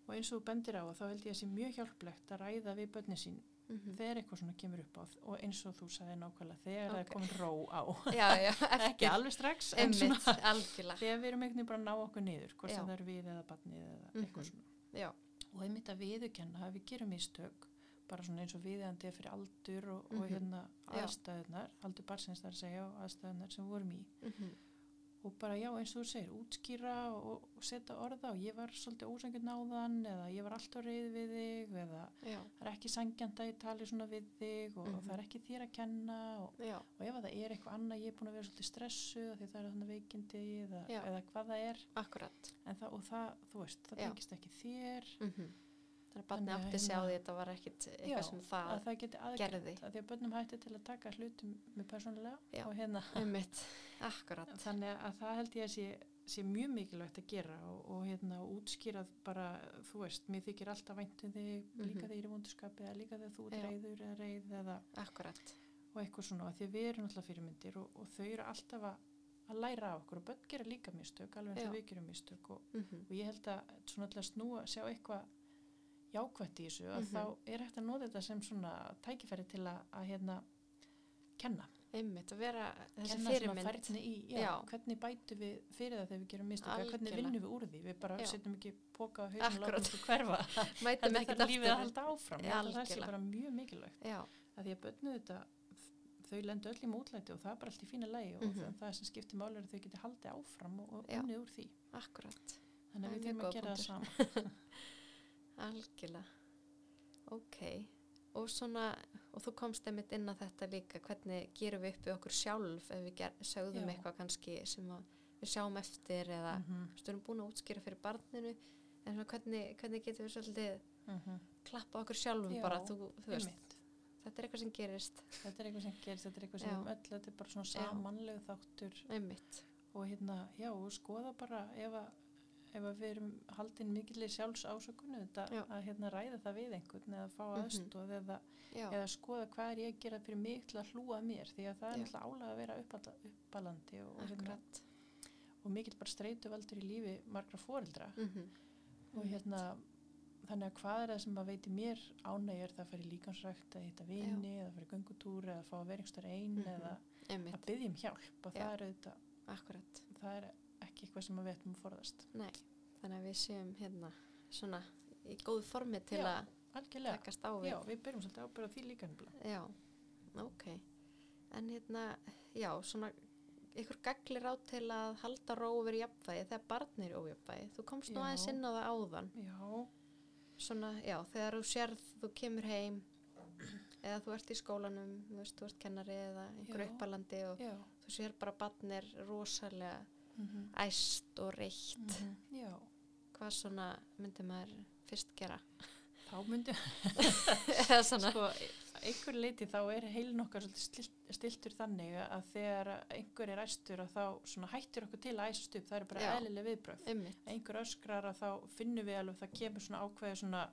[SPEAKER 2] Og eins og þú bendir á þá held ég að sé mjög hjálplegt að ræða við börnin sín
[SPEAKER 1] Mhm.
[SPEAKER 2] þegar eitthvað svona kemur upp á þ- og eins og þú sagði nákvæmlega þegar það
[SPEAKER 1] Ok.
[SPEAKER 2] er komin ró á
[SPEAKER 1] Já, já,
[SPEAKER 2] ekki
[SPEAKER 1] eftir.
[SPEAKER 2] alveg strax en svona
[SPEAKER 1] Einmitt, algjörlega.
[SPEAKER 2] þegar við erum einhvern veginn bara að ná okkur niður hvort
[SPEAKER 1] Já.
[SPEAKER 2] sem það er við eða barnið eða
[SPEAKER 1] Mhm.
[SPEAKER 2] eitthvað svona
[SPEAKER 1] Já.
[SPEAKER 2] og einmitt að viðurkenna að við gerum mistök bara svona eins og viðeigandi er fyrir aldur og, og
[SPEAKER 1] Mhm.
[SPEAKER 2] hérna
[SPEAKER 1] Já.
[SPEAKER 2] aðstæðunar aldur barnsins þar að segja og aðstæðunar sem við vorum í
[SPEAKER 1] Mhm.
[SPEAKER 2] og bara já eins og þú segir útskýra og, og setja orða og ég var svolítið ósangjönd náðan eða ég var alltaf reyð við þig eða
[SPEAKER 1] Já,
[SPEAKER 2] það er ekki sangjand að ég tali svona við þig og, og
[SPEAKER 1] Mhm.
[SPEAKER 2] það er ekki þér að kenna og,
[SPEAKER 1] já,
[SPEAKER 2] og ef að það er eitthvað annað ég er búin að vera svolítið stressuð af því það er þannig veikindi eða,
[SPEAKER 1] Já.
[SPEAKER 2] eða hvað það er
[SPEAKER 1] akkurat.
[SPEAKER 2] en það, og það, þú veist, það
[SPEAKER 1] Já.
[SPEAKER 2] tengist ekki þér
[SPEAKER 1] Mhm. Þannig að barni
[SPEAKER 2] Þannig að
[SPEAKER 1] átti sig á
[SPEAKER 2] hérna-
[SPEAKER 1] því að þetta var ekkit
[SPEAKER 2] Já,
[SPEAKER 1] eitthvað sem
[SPEAKER 2] að
[SPEAKER 1] það,
[SPEAKER 2] það geti
[SPEAKER 1] gerði.
[SPEAKER 2] aðgjönd að því að börnum hætti til að taka hlutum með persónulega
[SPEAKER 1] Já.
[SPEAKER 2] og hérna
[SPEAKER 1] einmitt, akkurat.
[SPEAKER 2] þannig að það held ég að sé, sé mjög mikilvægt að gera og, og hérna og útskýra bara, þú veist, mér þykir alltaf væntum þig, líka
[SPEAKER 1] Mhm.
[SPEAKER 2] þegar ég er í vondurskapi eða líka þegar þú
[SPEAKER 1] Já.
[SPEAKER 2] er reyður eða reyð eða
[SPEAKER 1] Akkurat.
[SPEAKER 2] og eitthvað svona, af því að við erum alltaf fyrirmyndir og, og þau eru alltaf að, að læra af okkur og börn gera líka mistök, alveg eins og
[SPEAKER 1] Já.
[SPEAKER 2] við gerum mistök og,
[SPEAKER 1] Mhm.
[SPEAKER 2] og ég held að svona alltaf snúa, sjá eitthvað jákvætt í þessu, að
[SPEAKER 1] Mhm.
[SPEAKER 2] þá er hægt að nota þetta sem svona tækifæri til að, að hérna kenna,
[SPEAKER 1] Einmitt, að vera þessi
[SPEAKER 2] kenna svona
[SPEAKER 1] fyrirmynd.
[SPEAKER 2] færni í, já,
[SPEAKER 1] Já.
[SPEAKER 2] hvernig bætu við fyrir það þegar við gerum mistök, eða
[SPEAKER 1] Algjörlega.
[SPEAKER 2] hvernig vinnum við úr því, við bara
[SPEAKER 1] Já.
[SPEAKER 2] setjum ekki póka á hausnum og
[SPEAKER 1] Akkúrat.
[SPEAKER 2] látum okkur hverfa,
[SPEAKER 1] Mætum
[SPEAKER 2] heldur
[SPEAKER 1] ekkit
[SPEAKER 2] það lífið að
[SPEAKER 1] aftur.
[SPEAKER 2] halda áfram, Ég held að það sé
[SPEAKER 1] Algjörlega.
[SPEAKER 2] bara mjög mikilvægt
[SPEAKER 1] Já,
[SPEAKER 2] að því að börnu þetta þau lendu öll í mótlæti og það er bara allt í fína lægi og
[SPEAKER 1] Mhm.
[SPEAKER 2] það, það sem skiptir máli er að þau geti haldið áfram og, og
[SPEAKER 1] Já.
[SPEAKER 2] unnið úr því
[SPEAKER 1] akkurat.
[SPEAKER 2] þannig
[SPEAKER 1] Það
[SPEAKER 2] að
[SPEAKER 1] er
[SPEAKER 2] við
[SPEAKER 1] mjög
[SPEAKER 2] þurfum
[SPEAKER 1] góður
[SPEAKER 2] að gera það
[SPEAKER 1] punktur.
[SPEAKER 2] saman
[SPEAKER 1] Algjörlega. Ok. Og svona, og þú komst einmitt inn að þetta líka, hvernig gerum við upp við okkur sjálf ef við ger, sögðum
[SPEAKER 2] Já.
[SPEAKER 1] eitthvað kannski sem að við sjáum eftir eða mm.
[SPEAKER 2] Mhm,
[SPEAKER 1] erum búin að útskýra fyrir barninu en svona hvernig, hvernig getum við svolítið
[SPEAKER 2] mhm,
[SPEAKER 1] klappa okkur sjálfum
[SPEAKER 2] Já,
[SPEAKER 1] bara, þú, þú veist,
[SPEAKER 2] einmitt.
[SPEAKER 1] þetta er eitthvað sem gerist
[SPEAKER 2] þetta er eitthvað sem gerist, þetta er eitthvað sem
[SPEAKER 1] Já.
[SPEAKER 2] um öll þetta er bara svona
[SPEAKER 1] Já.
[SPEAKER 2] samanlegu þáttur
[SPEAKER 1] einmitt,
[SPEAKER 2] og hérna, já, og skoða bara ef að ef að við erum haldin mikillir sjálfsásökunni þetta
[SPEAKER 1] Já.
[SPEAKER 2] að hérna ræða það við einhvern eða fá
[SPEAKER 1] Mhm.
[SPEAKER 2] aðstóð eða,
[SPEAKER 1] já,
[SPEAKER 2] eða skoða hvað er ég að gera fyrir mig til að hlúa að mér því að það er
[SPEAKER 1] Já.
[SPEAKER 2] náttúrulega álag að vera uppalla- uppalandi og, og hérna,
[SPEAKER 1] akkurat
[SPEAKER 2] og mikill bara streytu valdur í lífi margra fóreldra
[SPEAKER 1] mm -hmm.
[SPEAKER 2] og hérna þannig að hvað er það sem að veiti mér ánægju er það að fara í líkansrækt að hitta vini eða fara í göngutúr eða fá að vera einhverstað einn
[SPEAKER 1] Mhm.
[SPEAKER 2] eða
[SPEAKER 1] einmitt,
[SPEAKER 2] að byggja um hjálp og
[SPEAKER 1] Já.
[SPEAKER 2] það er, auðvitað,
[SPEAKER 1] akkurat
[SPEAKER 2] það er ekki eitthvað sem að við ættum að forðast
[SPEAKER 1] Nei, þannig að við séum hérna svona í góðu formi til
[SPEAKER 2] Já,
[SPEAKER 1] að
[SPEAKER 2] algjörlega,
[SPEAKER 1] takast á við
[SPEAKER 2] já við byrjum svolítið ábyrða því líka nefnilega
[SPEAKER 1] Já, ok en hérna, já, svona ykkur gaglir á til að halda ró yfir jafnvægi þegar barn er í ójafnvægi þú komst nú
[SPEAKER 2] Já.
[SPEAKER 1] aðeins inn á það áðan
[SPEAKER 2] já,
[SPEAKER 1] svona, já, þegar þú sérð þú kemur heim eða þú ert í skólanum, þú veist, þú ert kennari eða einhver
[SPEAKER 2] Já.
[SPEAKER 1] uppalandi og
[SPEAKER 2] já
[SPEAKER 1] þú sér bara barn er rosalega
[SPEAKER 2] mm
[SPEAKER 1] Mhm.
[SPEAKER 2] -hmm.
[SPEAKER 1] æst og reitt
[SPEAKER 2] já,
[SPEAKER 1] hvað svona myndi maður fyrst gera
[SPEAKER 2] þá myndi
[SPEAKER 1] eða svona
[SPEAKER 2] sko, að einhver leiti þá er heilin okkar svolítið stilt- stiltur þannig að þegar að einhver er æstur að þá svona hættir okkur til að æsast upp, það er bara
[SPEAKER 1] Já.
[SPEAKER 2] eðlileg viðbröð
[SPEAKER 1] Einmitt.
[SPEAKER 2] einhver öskrar að þá finnum við alveg það kemur svona ákveði svona,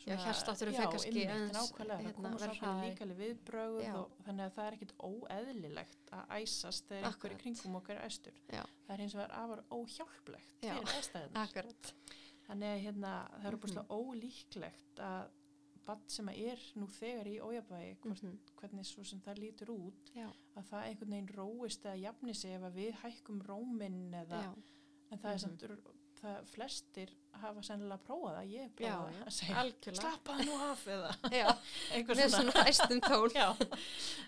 [SPEAKER 1] Já, hjartslátturinn fer kannski
[SPEAKER 2] einmitt,
[SPEAKER 1] aðeins,
[SPEAKER 2] en ákveðlega,
[SPEAKER 1] hérna,
[SPEAKER 2] það komur
[SPEAKER 1] verður
[SPEAKER 2] svona
[SPEAKER 1] hraðari.
[SPEAKER 2] líkaleg viðbröð
[SPEAKER 1] Já.
[SPEAKER 2] og þannig að það er ekkit óeðlilegt að æsast þegar einhver
[SPEAKER 1] Akkúrat.
[SPEAKER 2] í kringum okkar er æstur
[SPEAKER 1] Já.
[SPEAKER 2] það er hins vegar afar óhjálplegt
[SPEAKER 1] Já.
[SPEAKER 2] fyrir æstæðunar
[SPEAKER 1] akkurat
[SPEAKER 2] Þannig að hérna, það er
[SPEAKER 1] Mhm.
[SPEAKER 2] opaslega ólíklegt að bann sem að er nú þegar í ójabæi, hvort,
[SPEAKER 1] Mhm.
[SPEAKER 2] hvernig svo sem það lítur út,
[SPEAKER 1] Já.
[SPEAKER 2] að það einhvern veginn róist eða jafni sig ef að við hækkum róminn eða,
[SPEAKER 1] Já,
[SPEAKER 2] en það
[SPEAKER 1] Mhm.
[SPEAKER 2] er samt, það flestir hafa sennilega prófað að ég hef
[SPEAKER 1] Já,
[SPEAKER 2] prófað
[SPEAKER 1] já,
[SPEAKER 2] að segja,
[SPEAKER 1] algjörlega
[SPEAKER 2] slappaðu nú af eða
[SPEAKER 1] já,
[SPEAKER 2] einhver
[SPEAKER 1] með
[SPEAKER 2] svona,
[SPEAKER 1] svona æstum tón
[SPEAKER 2] já, og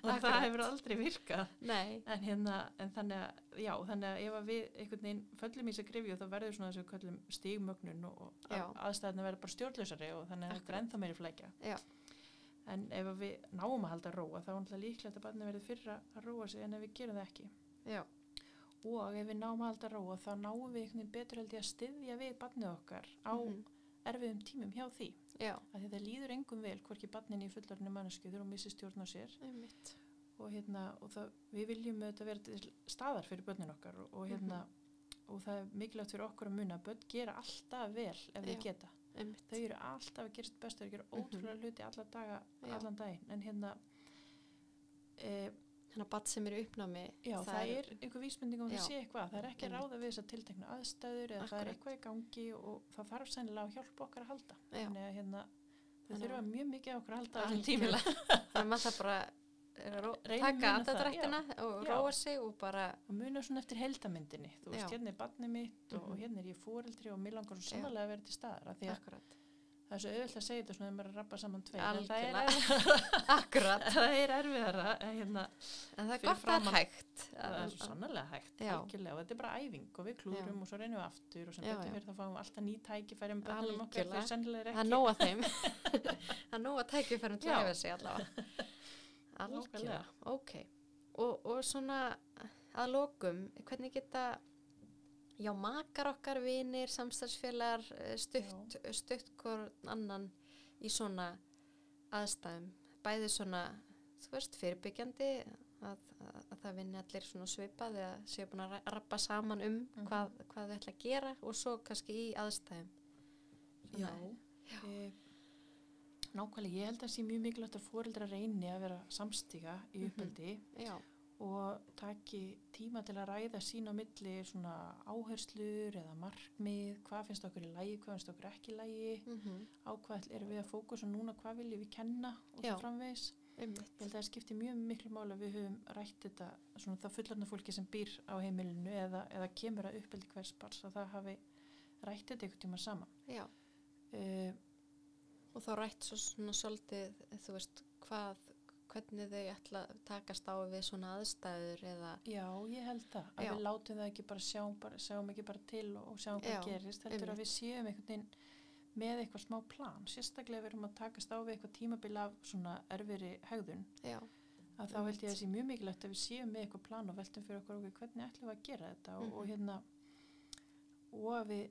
[SPEAKER 2] það
[SPEAKER 1] Akkurat.
[SPEAKER 2] hefur aldrei virkað.
[SPEAKER 1] nei,
[SPEAKER 2] En hérna, en þannig að, já, þannig að ef að við einhvern veginn föllum í þess að grifju þá verður svona þessu köllum stígmögnun og, og
[SPEAKER 1] Já.
[SPEAKER 2] að- aðstæðurnar verður bara stjórnlausari og þannig að þetta er
[SPEAKER 1] Akkurat.
[SPEAKER 2] ennþá meiri flækja.
[SPEAKER 1] Já.
[SPEAKER 2] En ef að við náum að halda róa þá er náttúrulega líklegt að barnið verður fyrra að róa sig en ef við gerum það ekki.
[SPEAKER 1] já,
[SPEAKER 2] Og ef við náum að halda róa þá náum við einhvern veginn betur held ég að styðja við barnið okkar á
[SPEAKER 1] mhm,
[SPEAKER 2] erfiðum tímum hjá því.
[SPEAKER 1] já,
[SPEAKER 2] Af því það líður engum vel hvorki barninni í fullarinu mannesku þegar hún missi stjórn á sér
[SPEAKER 1] einmitt
[SPEAKER 2] og hérna og það, við viljum auðvitað vera til staðar fyrir börnin okkar og, og hérna
[SPEAKER 1] Mhm.
[SPEAKER 2] og það er mikilvægt fyrir okkur að muna að börn gera alltaf vel ef
[SPEAKER 1] Já.
[SPEAKER 2] þau geta
[SPEAKER 1] einmitt,
[SPEAKER 2] þau eru alltaf að gera sitt besta, þau gera
[SPEAKER 1] Mhm.
[SPEAKER 2] ótrúlega hluti alla daga,
[SPEAKER 1] Já.
[SPEAKER 2] allan daginn en hérna e,
[SPEAKER 1] þannig að bat sem er í uppnámi
[SPEAKER 2] já, það, er einhver vísmynding um að
[SPEAKER 1] Já.
[SPEAKER 2] það sé eitthvað það er ekki að
[SPEAKER 1] Einmitt.
[SPEAKER 2] ráða við þess að tiltekna aðstæður eða það er
[SPEAKER 1] Akkúrat.
[SPEAKER 2] eitthvað í gangi og það þarf sennilega að hjálpa okkar að halda
[SPEAKER 1] já,
[SPEAKER 2] þannig að hérna þau
[SPEAKER 1] Þannig að-
[SPEAKER 2] þurfa mjög mikið á okkur að halda á þessum tíma
[SPEAKER 1] algjörlega þannig að maður það bara er að ró-
[SPEAKER 2] Reynum
[SPEAKER 1] taka
[SPEAKER 2] muna það,
[SPEAKER 1] andadrættina og
[SPEAKER 2] Já.
[SPEAKER 1] róa sig og bara
[SPEAKER 2] og muna svona eftir heldamyndinni þú veist,
[SPEAKER 1] Já.
[SPEAKER 2] hérna er barnið mitt og,
[SPEAKER 1] Mhm.
[SPEAKER 2] og hérna er ég fóreldri og mér langar svo
[SPEAKER 1] Já.
[SPEAKER 2] sannlega að vera til staðar af því að
[SPEAKER 1] akkurat,
[SPEAKER 2] það er svo auðvitað að segja þetta svona þegar maður er að rappa saman tveir en það er,
[SPEAKER 1] algjörlega akkurat,
[SPEAKER 2] erf- það er erfiðara en hérna,
[SPEAKER 1] en það er
[SPEAKER 2] Fyrir
[SPEAKER 1] gott að það
[SPEAKER 2] framan-
[SPEAKER 1] er hægt
[SPEAKER 2] það er
[SPEAKER 1] eh, að-
[SPEAKER 2] svo sannlega hægt
[SPEAKER 1] Já.
[SPEAKER 2] algjörlega og þetta er bara æfing og við klúrum og svo reynum við aftur og sem
[SPEAKER 1] Já, já.
[SPEAKER 2] betur fyrir þá fáum við alltaf ný tækifæri um börnum okkar
[SPEAKER 1] Algjörlega.
[SPEAKER 2] þau sennilega er
[SPEAKER 1] Það er
[SPEAKER 2] ekki
[SPEAKER 1] nóg að þeim. Það er nóg að tækifærum til
[SPEAKER 2] Já.
[SPEAKER 1] að hefa sig allavega. Algjörlega.
[SPEAKER 2] Nákvæmlega.
[SPEAKER 1] Ok. Og, og svona að lokum, hvernig geta, já, makar okkar, vinir, samstarfsfélagar, eh, stutt, stutt hvorn annan í svona aðstæðum. Bæði svona, þú veist, fyrirbyggjandi að, að, að það vinni allir svona svipað eða séu búin að ra- rappa saman um
[SPEAKER 2] Mhm.
[SPEAKER 1] hvað, hvað þau ætla að gera og svo kannski í aðstæðum.
[SPEAKER 2] Já.
[SPEAKER 1] Já.
[SPEAKER 2] Eh, nákvæmlega, ég held að það sé mjög mikilvægt að fóreldra reyni að vera samstíga í
[SPEAKER 1] Mhm.
[SPEAKER 2] uppeldi
[SPEAKER 1] Já.
[SPEAKER 2] og taki tíma til að ræða sín á milli svona áherslur eða markmið, hvað finnst okkur í lægi, hvað finnst okkur ekki í lægi,
[SPEAKER 1] Mm
[SPEAKER 2] á hvað erum við að fókusa núna, hvað viljum við kenna og
[SPEAKER 1] Já.
[SPEAKER 2] svo framvegis.
[SPEAKER 1] Einmitt.
[SPEAKER 2] Ég held að það skipti mjög miklu máli að við höfum rætt þetta, svona það fullarna fólki sem býr á heimilinu eða, eða kemur að uppeldi hvers bars að það hafi rætt þetta ykkur tíma saman.
[SPEAKER 1] Já,
[SPEAKER 2] Uh,
[SPEAKER 1] og þá rætt svo svona svolítið, þú veist, hvað, hvernig þau ætla að takast á við svona aðstæður eða,
[SPEAKER 2] já, ég held það, að
[SPEAKER 1] Já.
[SPEAKER 2] við látum það ekki bara sjáum, bara, sjáum ekki bara til og, og sjáum
[SPEAKER 1] Já,
[SPEAKER 2] hvað gerist, heldur að við séum einhvern veginn með eitthvað smá plan, sérstaklega ef við erum að takast á við eitthvað tímabil af svona erfiri hegðun,
[SPEAKER 1] já,
[SPEAKER 2] að þá held ég að það sé mjög mikilvægt að við séum með eitthvað plan og veltum fyrir okkur okkur hvernig ætlum við að gera þetta og,
[SPEAKER 1] Mhm.
[SPEAKER 2] og hérna og að við,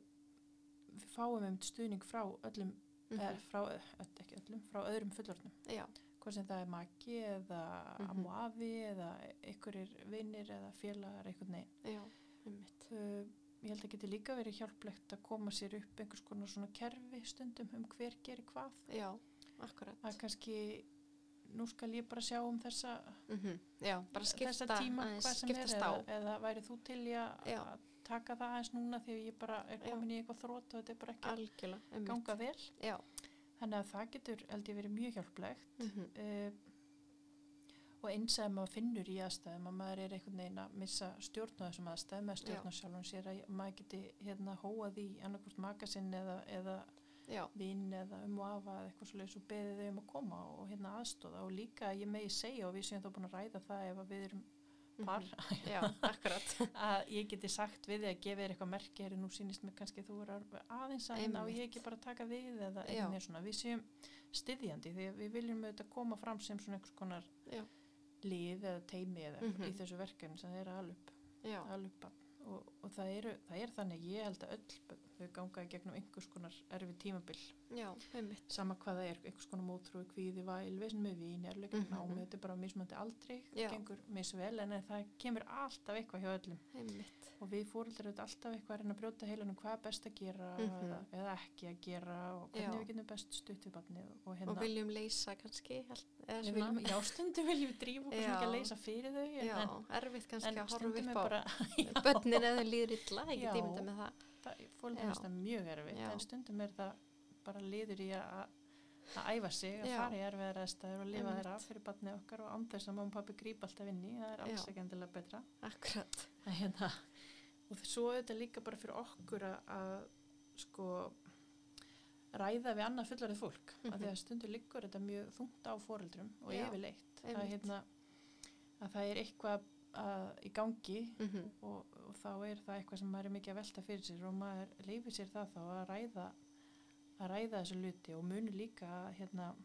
[SPEAKER 2] við fáum um stuðning frá öllum eða
[SPEAKER 1] mhm,
[SPEAKER 2] frá, eh, öll, ekki öllum, frá öðrum fullorðnum
[SPEAKER 1] já,
[SPEAKER 2] hvort sem það er maki eða mm
[SPEAKER 1] Mhm.
[SPEAKER 2] -hmm. amuafi eða einhverjir vinnir eða félagar einhvern veginn
[SPEAKER 1] já, einmitt,
[SPEAKER 2] uh, ég held að geti líka verið hjálplegt að koma sér upp einhvers konar svona kerfi stundum um hver gerir hvað
[SPEAKER 1] já, akkurat,
[SPEAKER 2] að kannski nú skal ég bara sjá um þessa
[SPEAKER 1] mhm, já, bara skipta,
[SPEAKER 2] þessa tíma
[SPEAKER 1] aðeins,
[SPEAKER 2] hvað sem er
[SPEAKER 1] skiptast
[SPEAKER 2] eða,
[SPEAKER 1] á,
[SPEAKER 2] eða væri þú til í að
[SPEAKER 1] Já.
[SPEAKER 2] að taka það aðeins núna þegar ég bara er
[SPEAKER 1] Já.
[SPEAKER 2] komin í eitthvað þrótt og þetta er bara ekki að
[SPEAKER 1] algjörlega, einmitt.
[SPEAKER 2] ganga vel.
[SPEAKER 1] Já,
[SPEAKER 2] Þannig að það getur, held ég, verið mjög hjálplegt
[SPEAKER 1] mm
[SPEAKER 2] uh, Eh, og eins að maður finnur í aðstæðum að maður er einhvern veginn að missa stjórn á þessum aðstæðum eða stjórn á sjálfum sér að maður geti hérna hóað í annarkvort makasinn eða, eða
[SPEAKER 1] já,
[SPEAKER 2] vinn eða um og afa eða eitthvað svoleiðis og beðið þau um að koma og hérna aðstóða og líka að ég megi segja og við séum þá búin að ræða það ef að við erum
[SPEAKER 1] Mhm.
[SPEAKER 2] par
[SPEAKER 1] já, akkurat.
[SPEAKER 2] að ég geti sagt við þig að gefa þér eitthvað merki er nú sýnist mér kannski að þú er aðeins að hérna og ég
[SPEAKER 1] Einmitt.
[SPEAKER 2] ekki bara að taka við eða
[SPEAKER 1] Já.
[SPEAKER 2] einnig svona, við séum styðjandi því að við viljum auðvitað koma fram sem svona einhvers konar
[SPEAKER 1] Já.
[SPEAKER 2] lið eða teimi eða
[SPEAKER 1] Mhm.
[SPEAKER 2] í þessu verkefni sem þeir eru að alup,
[SPEAKER 1] Já,
[SPEAKER 2] alupa og, og það, eru, það er þannig ég held að öll börn, þau ganga í gegnum einhvers konar erfi tímabil
[SPEAKER 1] já, einmitt.
[SPEAKER 2] sama hvað það er, einhvers konar mótrúi, kvíði, væl, vesen með vín, erleik, mm
[SPEAKER 1] Mhm.
[SPEAKER 2] -hmm. námi, þetta er bara mismöndi aldrei,
[SPEAKER 1] Já.
[SPEAKER 2] gengur misvel en það kemur alltaf eitthvað hjá öllum
[SPEAKER 1] Einmitt,
[SPEAKER 2] og við fóreldrar auðvitað alltaf eitthvað að reyna að brjóta heilanum hvað er best að gera
[SPEAKER 1] Mhm.
[SPEAKER 2] eða, eða ekki að gera og hvernig
[SPEAKER 1] Já.
[SPEAKER 2] við getum best stutt við barnið og, og
[SPEAKER 1] og
[SPEAKER 2] hérna
[SPEAKER 1] viljum leysa kannski, held- eða
[SPEAKER 2] við
[SPEAKER 1] svona,
[SPEAKER 2] viljum, já stundum viljum við drífa okkur svona
[SPEAKER 1] Já.
[SPEAKER 2] ekki að leysa fyrir þau en,
[SPEAKER 1] já,
[SPEAKER 2] en,
[SPEAKER 1] erfitt kannski
[SPEAKER 2] en
[SPEAKER 1] að horfa
[SPEAKER 2] stundum
[SPEAKER 1] upp
[SPEAKER 2] er
[SPEAKER 1] á
[SPEAKER 2] bara
[SPEAKER 1] börnin eða líður illa, ég
[SPEAKER 2] Já.
[SPEAKER 1] get ímynda með það. Já.
[SPEAKER 2] fóreldrar finnst það mjög erfitt
[SPEAKER 1] Já.
[SPEAKER 2] en stundum er það bara liður í að að æfa sig, að
[SPEAKER 1] Já.
[SPEAKER 2] fara í erfiðar aðstæður og lifa
[SPEAKER 1] Einmitt.
[SPEAKER 2] þeirra fyrir barnið okkar og án þess að mamma og pappi grípa alltaf inn í, það er alls
[SPEAKER 1] Já.
[SPEAKER 2] ekki endilega betra
[SPEAKER 1] Akkurat,
[SPEAKER 2] að hérna og þ- svo auðvitað líka bara fyrir okkur að, að sko ræða við annað fullarið fólk mm
[SPEAKER 1] Mhm.
[SPEAKER 2] af því að stundur liggur þetta mjög þungt á foreldrum og
[SPEAKER 1] Já,
[SPEAKER 2] yfirleitt að,
[SPEAKER 1] einmitt.
[SPEAKER 2] hérna, að það er eitthvað að, í gangi
[SPEAKER 1] mm
[SPEAKER 2] og, og þá er það eitthvað sem maður er mikið að velta fyrir sér og maður leifir sér það þá að ræða að ræða þessu luti og muni líka að, hérna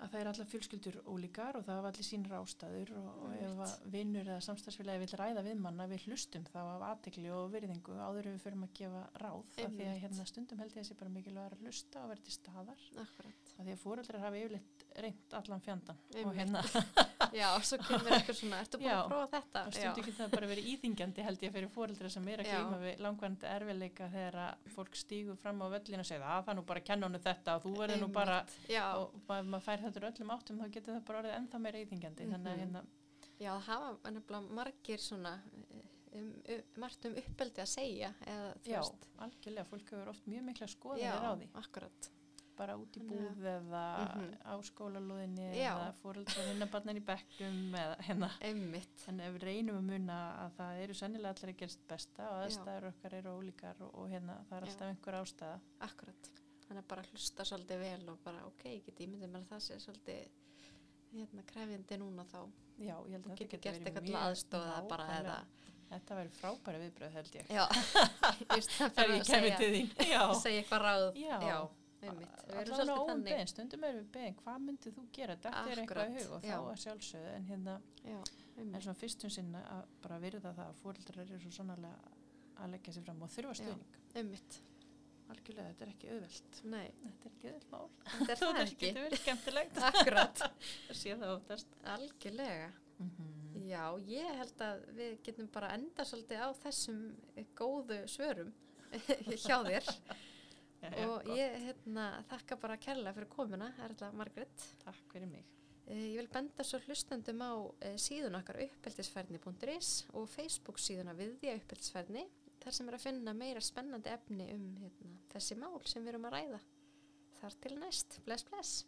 [SPEAKER 2] að það er allar fjölskyldur ólíkar og það hafa allir sín rástaður og, og ef
[SPEAKER 1] Einmitt.
[SPEAKER 2] að vinnur eða samstagsfélagi vil ræða við manna við hlustum þá af aðtegli og virðingu áður en við förum að gefa ráð af því að
[SPEAKER 1] Einmitt.
[SPEAKER 2] hérna stundum held ég að sé bara mikilvæg að hlusta og vera til staðar
[SPEAKER 1] akkurat.
[SPEAKER 2] af því að fóreldrar hafa yfirleitt reynt allan fjandan
[SPEAKER 1] Einmitt.
[SPEAKER 2] og hérna
[SPEAKER 1] Já, svo kemur eitthvað svona, ertu búin
[SPEAKER 2] Já.
[SPEAKER 1] að prófa þetta?
[SPEAKER 2] á
[SPEAKER 1] Já.
[SPEAKER 2] stundu getur það bara verið íþingjandi held ég fyrir fóreldra sem er að
[SPEAKER 1] Já.
[SPEAKER 2] glíma við langvarandi erfiðleika þegar að fólk stígur fram á völlin og segir að það er nú bara að kenna honum þetta og þú verður nú bara
[SPEAKER 1] Já,
[SPEAKER 2] og ma- ef maður fær þetta úr öllum áttum þá getur það bara orðið ennþá meira íþingjandi þannig að
[SPEAKER 1] Mhm.
[SPEAKER 2] hérna,
[SPEAKER 1] já, það hafa nefnilega margir svona, um, um, margt um uppeldi að segja, eða þú
[SPEAKER 2] já,
[SPEAKER 1] veist.
[SPEAKER 2] algjörlega fólk hefur oft mjög mikla skoðanir á því
[SPEAKER 1] akkurat.
[SPEAKER 2] bara út í
[SPEAKER 1] Þannig að-
[SPEAKER 2] búð eða
[SPEAKER 1] Mhm.
[SPEAKER 2] á skólalóðinni
[SPEAKER 1] Já.
[SPEAKER 2] eða fóreldra vinnabarnin í bekknum eða hérna
[SPEAKER 1] Einmitt,
[SPEAKER 2] En ef við reynum að muna að það eru sennilega allir að gerast besta og
[SPEAKER 1] Já.
[SPEAKER 2] aðstæður okkar eru ólíkar og, og hérna það er
[SPEAKER 1] Já.
[SPEAKER 2] alltaf einhver ástæða.
[SPEAKER 1] akkurat. Þannig að bara hlusta svolítið vel og bara, ok, ég get ímyndið mér að það sé svolítið, hérna, krefjandi núna þá.
[SPEAKER 2] Já, ég held að
[SPEAKER 1] Þú
[SPEAKER 2] þetta
[SPEAKER 1] getur
[SPEAKER 2] getur
[SPEAKER 1] gert
[SPEAKER 2] verið
[SPEAKER 1] eitthvað til
[SPEAKER 2] mjög
[SPEAKER 1] aðstóða bara eða,
[SPEAKER 2] nákvæmlega. Þetta verður frábæri viðbröð held ég.
[SPEAKER 1] já, í stað
[SPEAKER 2] Ef
[SPEAKER 1] fyrir
[SPEAKER 2] ég
[SPEAKER 1] að
[SPEAKER 2] kemur
[SPEAKER 1] segja,
[SPEAKER 2] til þín. Já.
[SPEAKER 1] segja eitthvað ráð.
[SPEAKER 2] Já.
[SPEAKER 1] einmitt. Við erum
[SPEAKER 2] Allavega
[SPEAKER 1] svolítið
[SPEAKER 2] óum
[SPEAKER 1] þannig.
[SPEAKER 2] beðin, stundum erum við beðin, hvað myndið þú gera? Þetta er eitthvað í
[SPEAKER 1] Akkurat,
[SPEAKER 2] hug og þá
[SPEAKER 1] já. Mm.
[SPEAKER 2] að sjálfsögðu. En hérna,
[SPEAKER 1] Já,
[SPEAKER 2] en
[SPEAKER 1] einmitt.
[SPEAKER 2] svona fyrstum sinna að bara virða það að fóreldrar eru svo sannarlega að leggja sér fram og þurfa
[SPEAKER 1] Já.
[SPEAKER 2] stuðning.
[SPEAKER 1] einmitt.
[SPEAKER 2] Algjörlega, þetta er ekki auðvelt.
[SPEAKER 1] Nei,
[SPEAKER 2] Þetta er ekki auðvelt mál.
[SPEAKER 1] þetta er það
[SPEAKER 2] Þetta
[SPEAKER 1] ekki.
[SPEAKER 2] getur verið skemmtilegt.
[SPEAKER 1] Akkurat,
[SPEAKER 2] Það sé það óttast.
[SPEAKER 1] algjörlega.
[SPEAKER 2] Mm
[SPEAKER 1] Já, ég held að við getum bara enda svolítið á þessum eh, góðu svörum hjá þér og ég hérna, þakka bara kærlega fyrir komuna, Erla Margrét.
[SPEAKER 2] Takk fyrir mig.
[SPEAKER 1] Eh, Ég vil benda svo hlustendum á eh, síðun okkar uppeldisferðni.is og Facebook síðuna viðja uppeldisferðni þar sem er að finna meira spennandi efni um hérna, þessi mál sem við erum að ræða. Þar til næst. Bless, bless.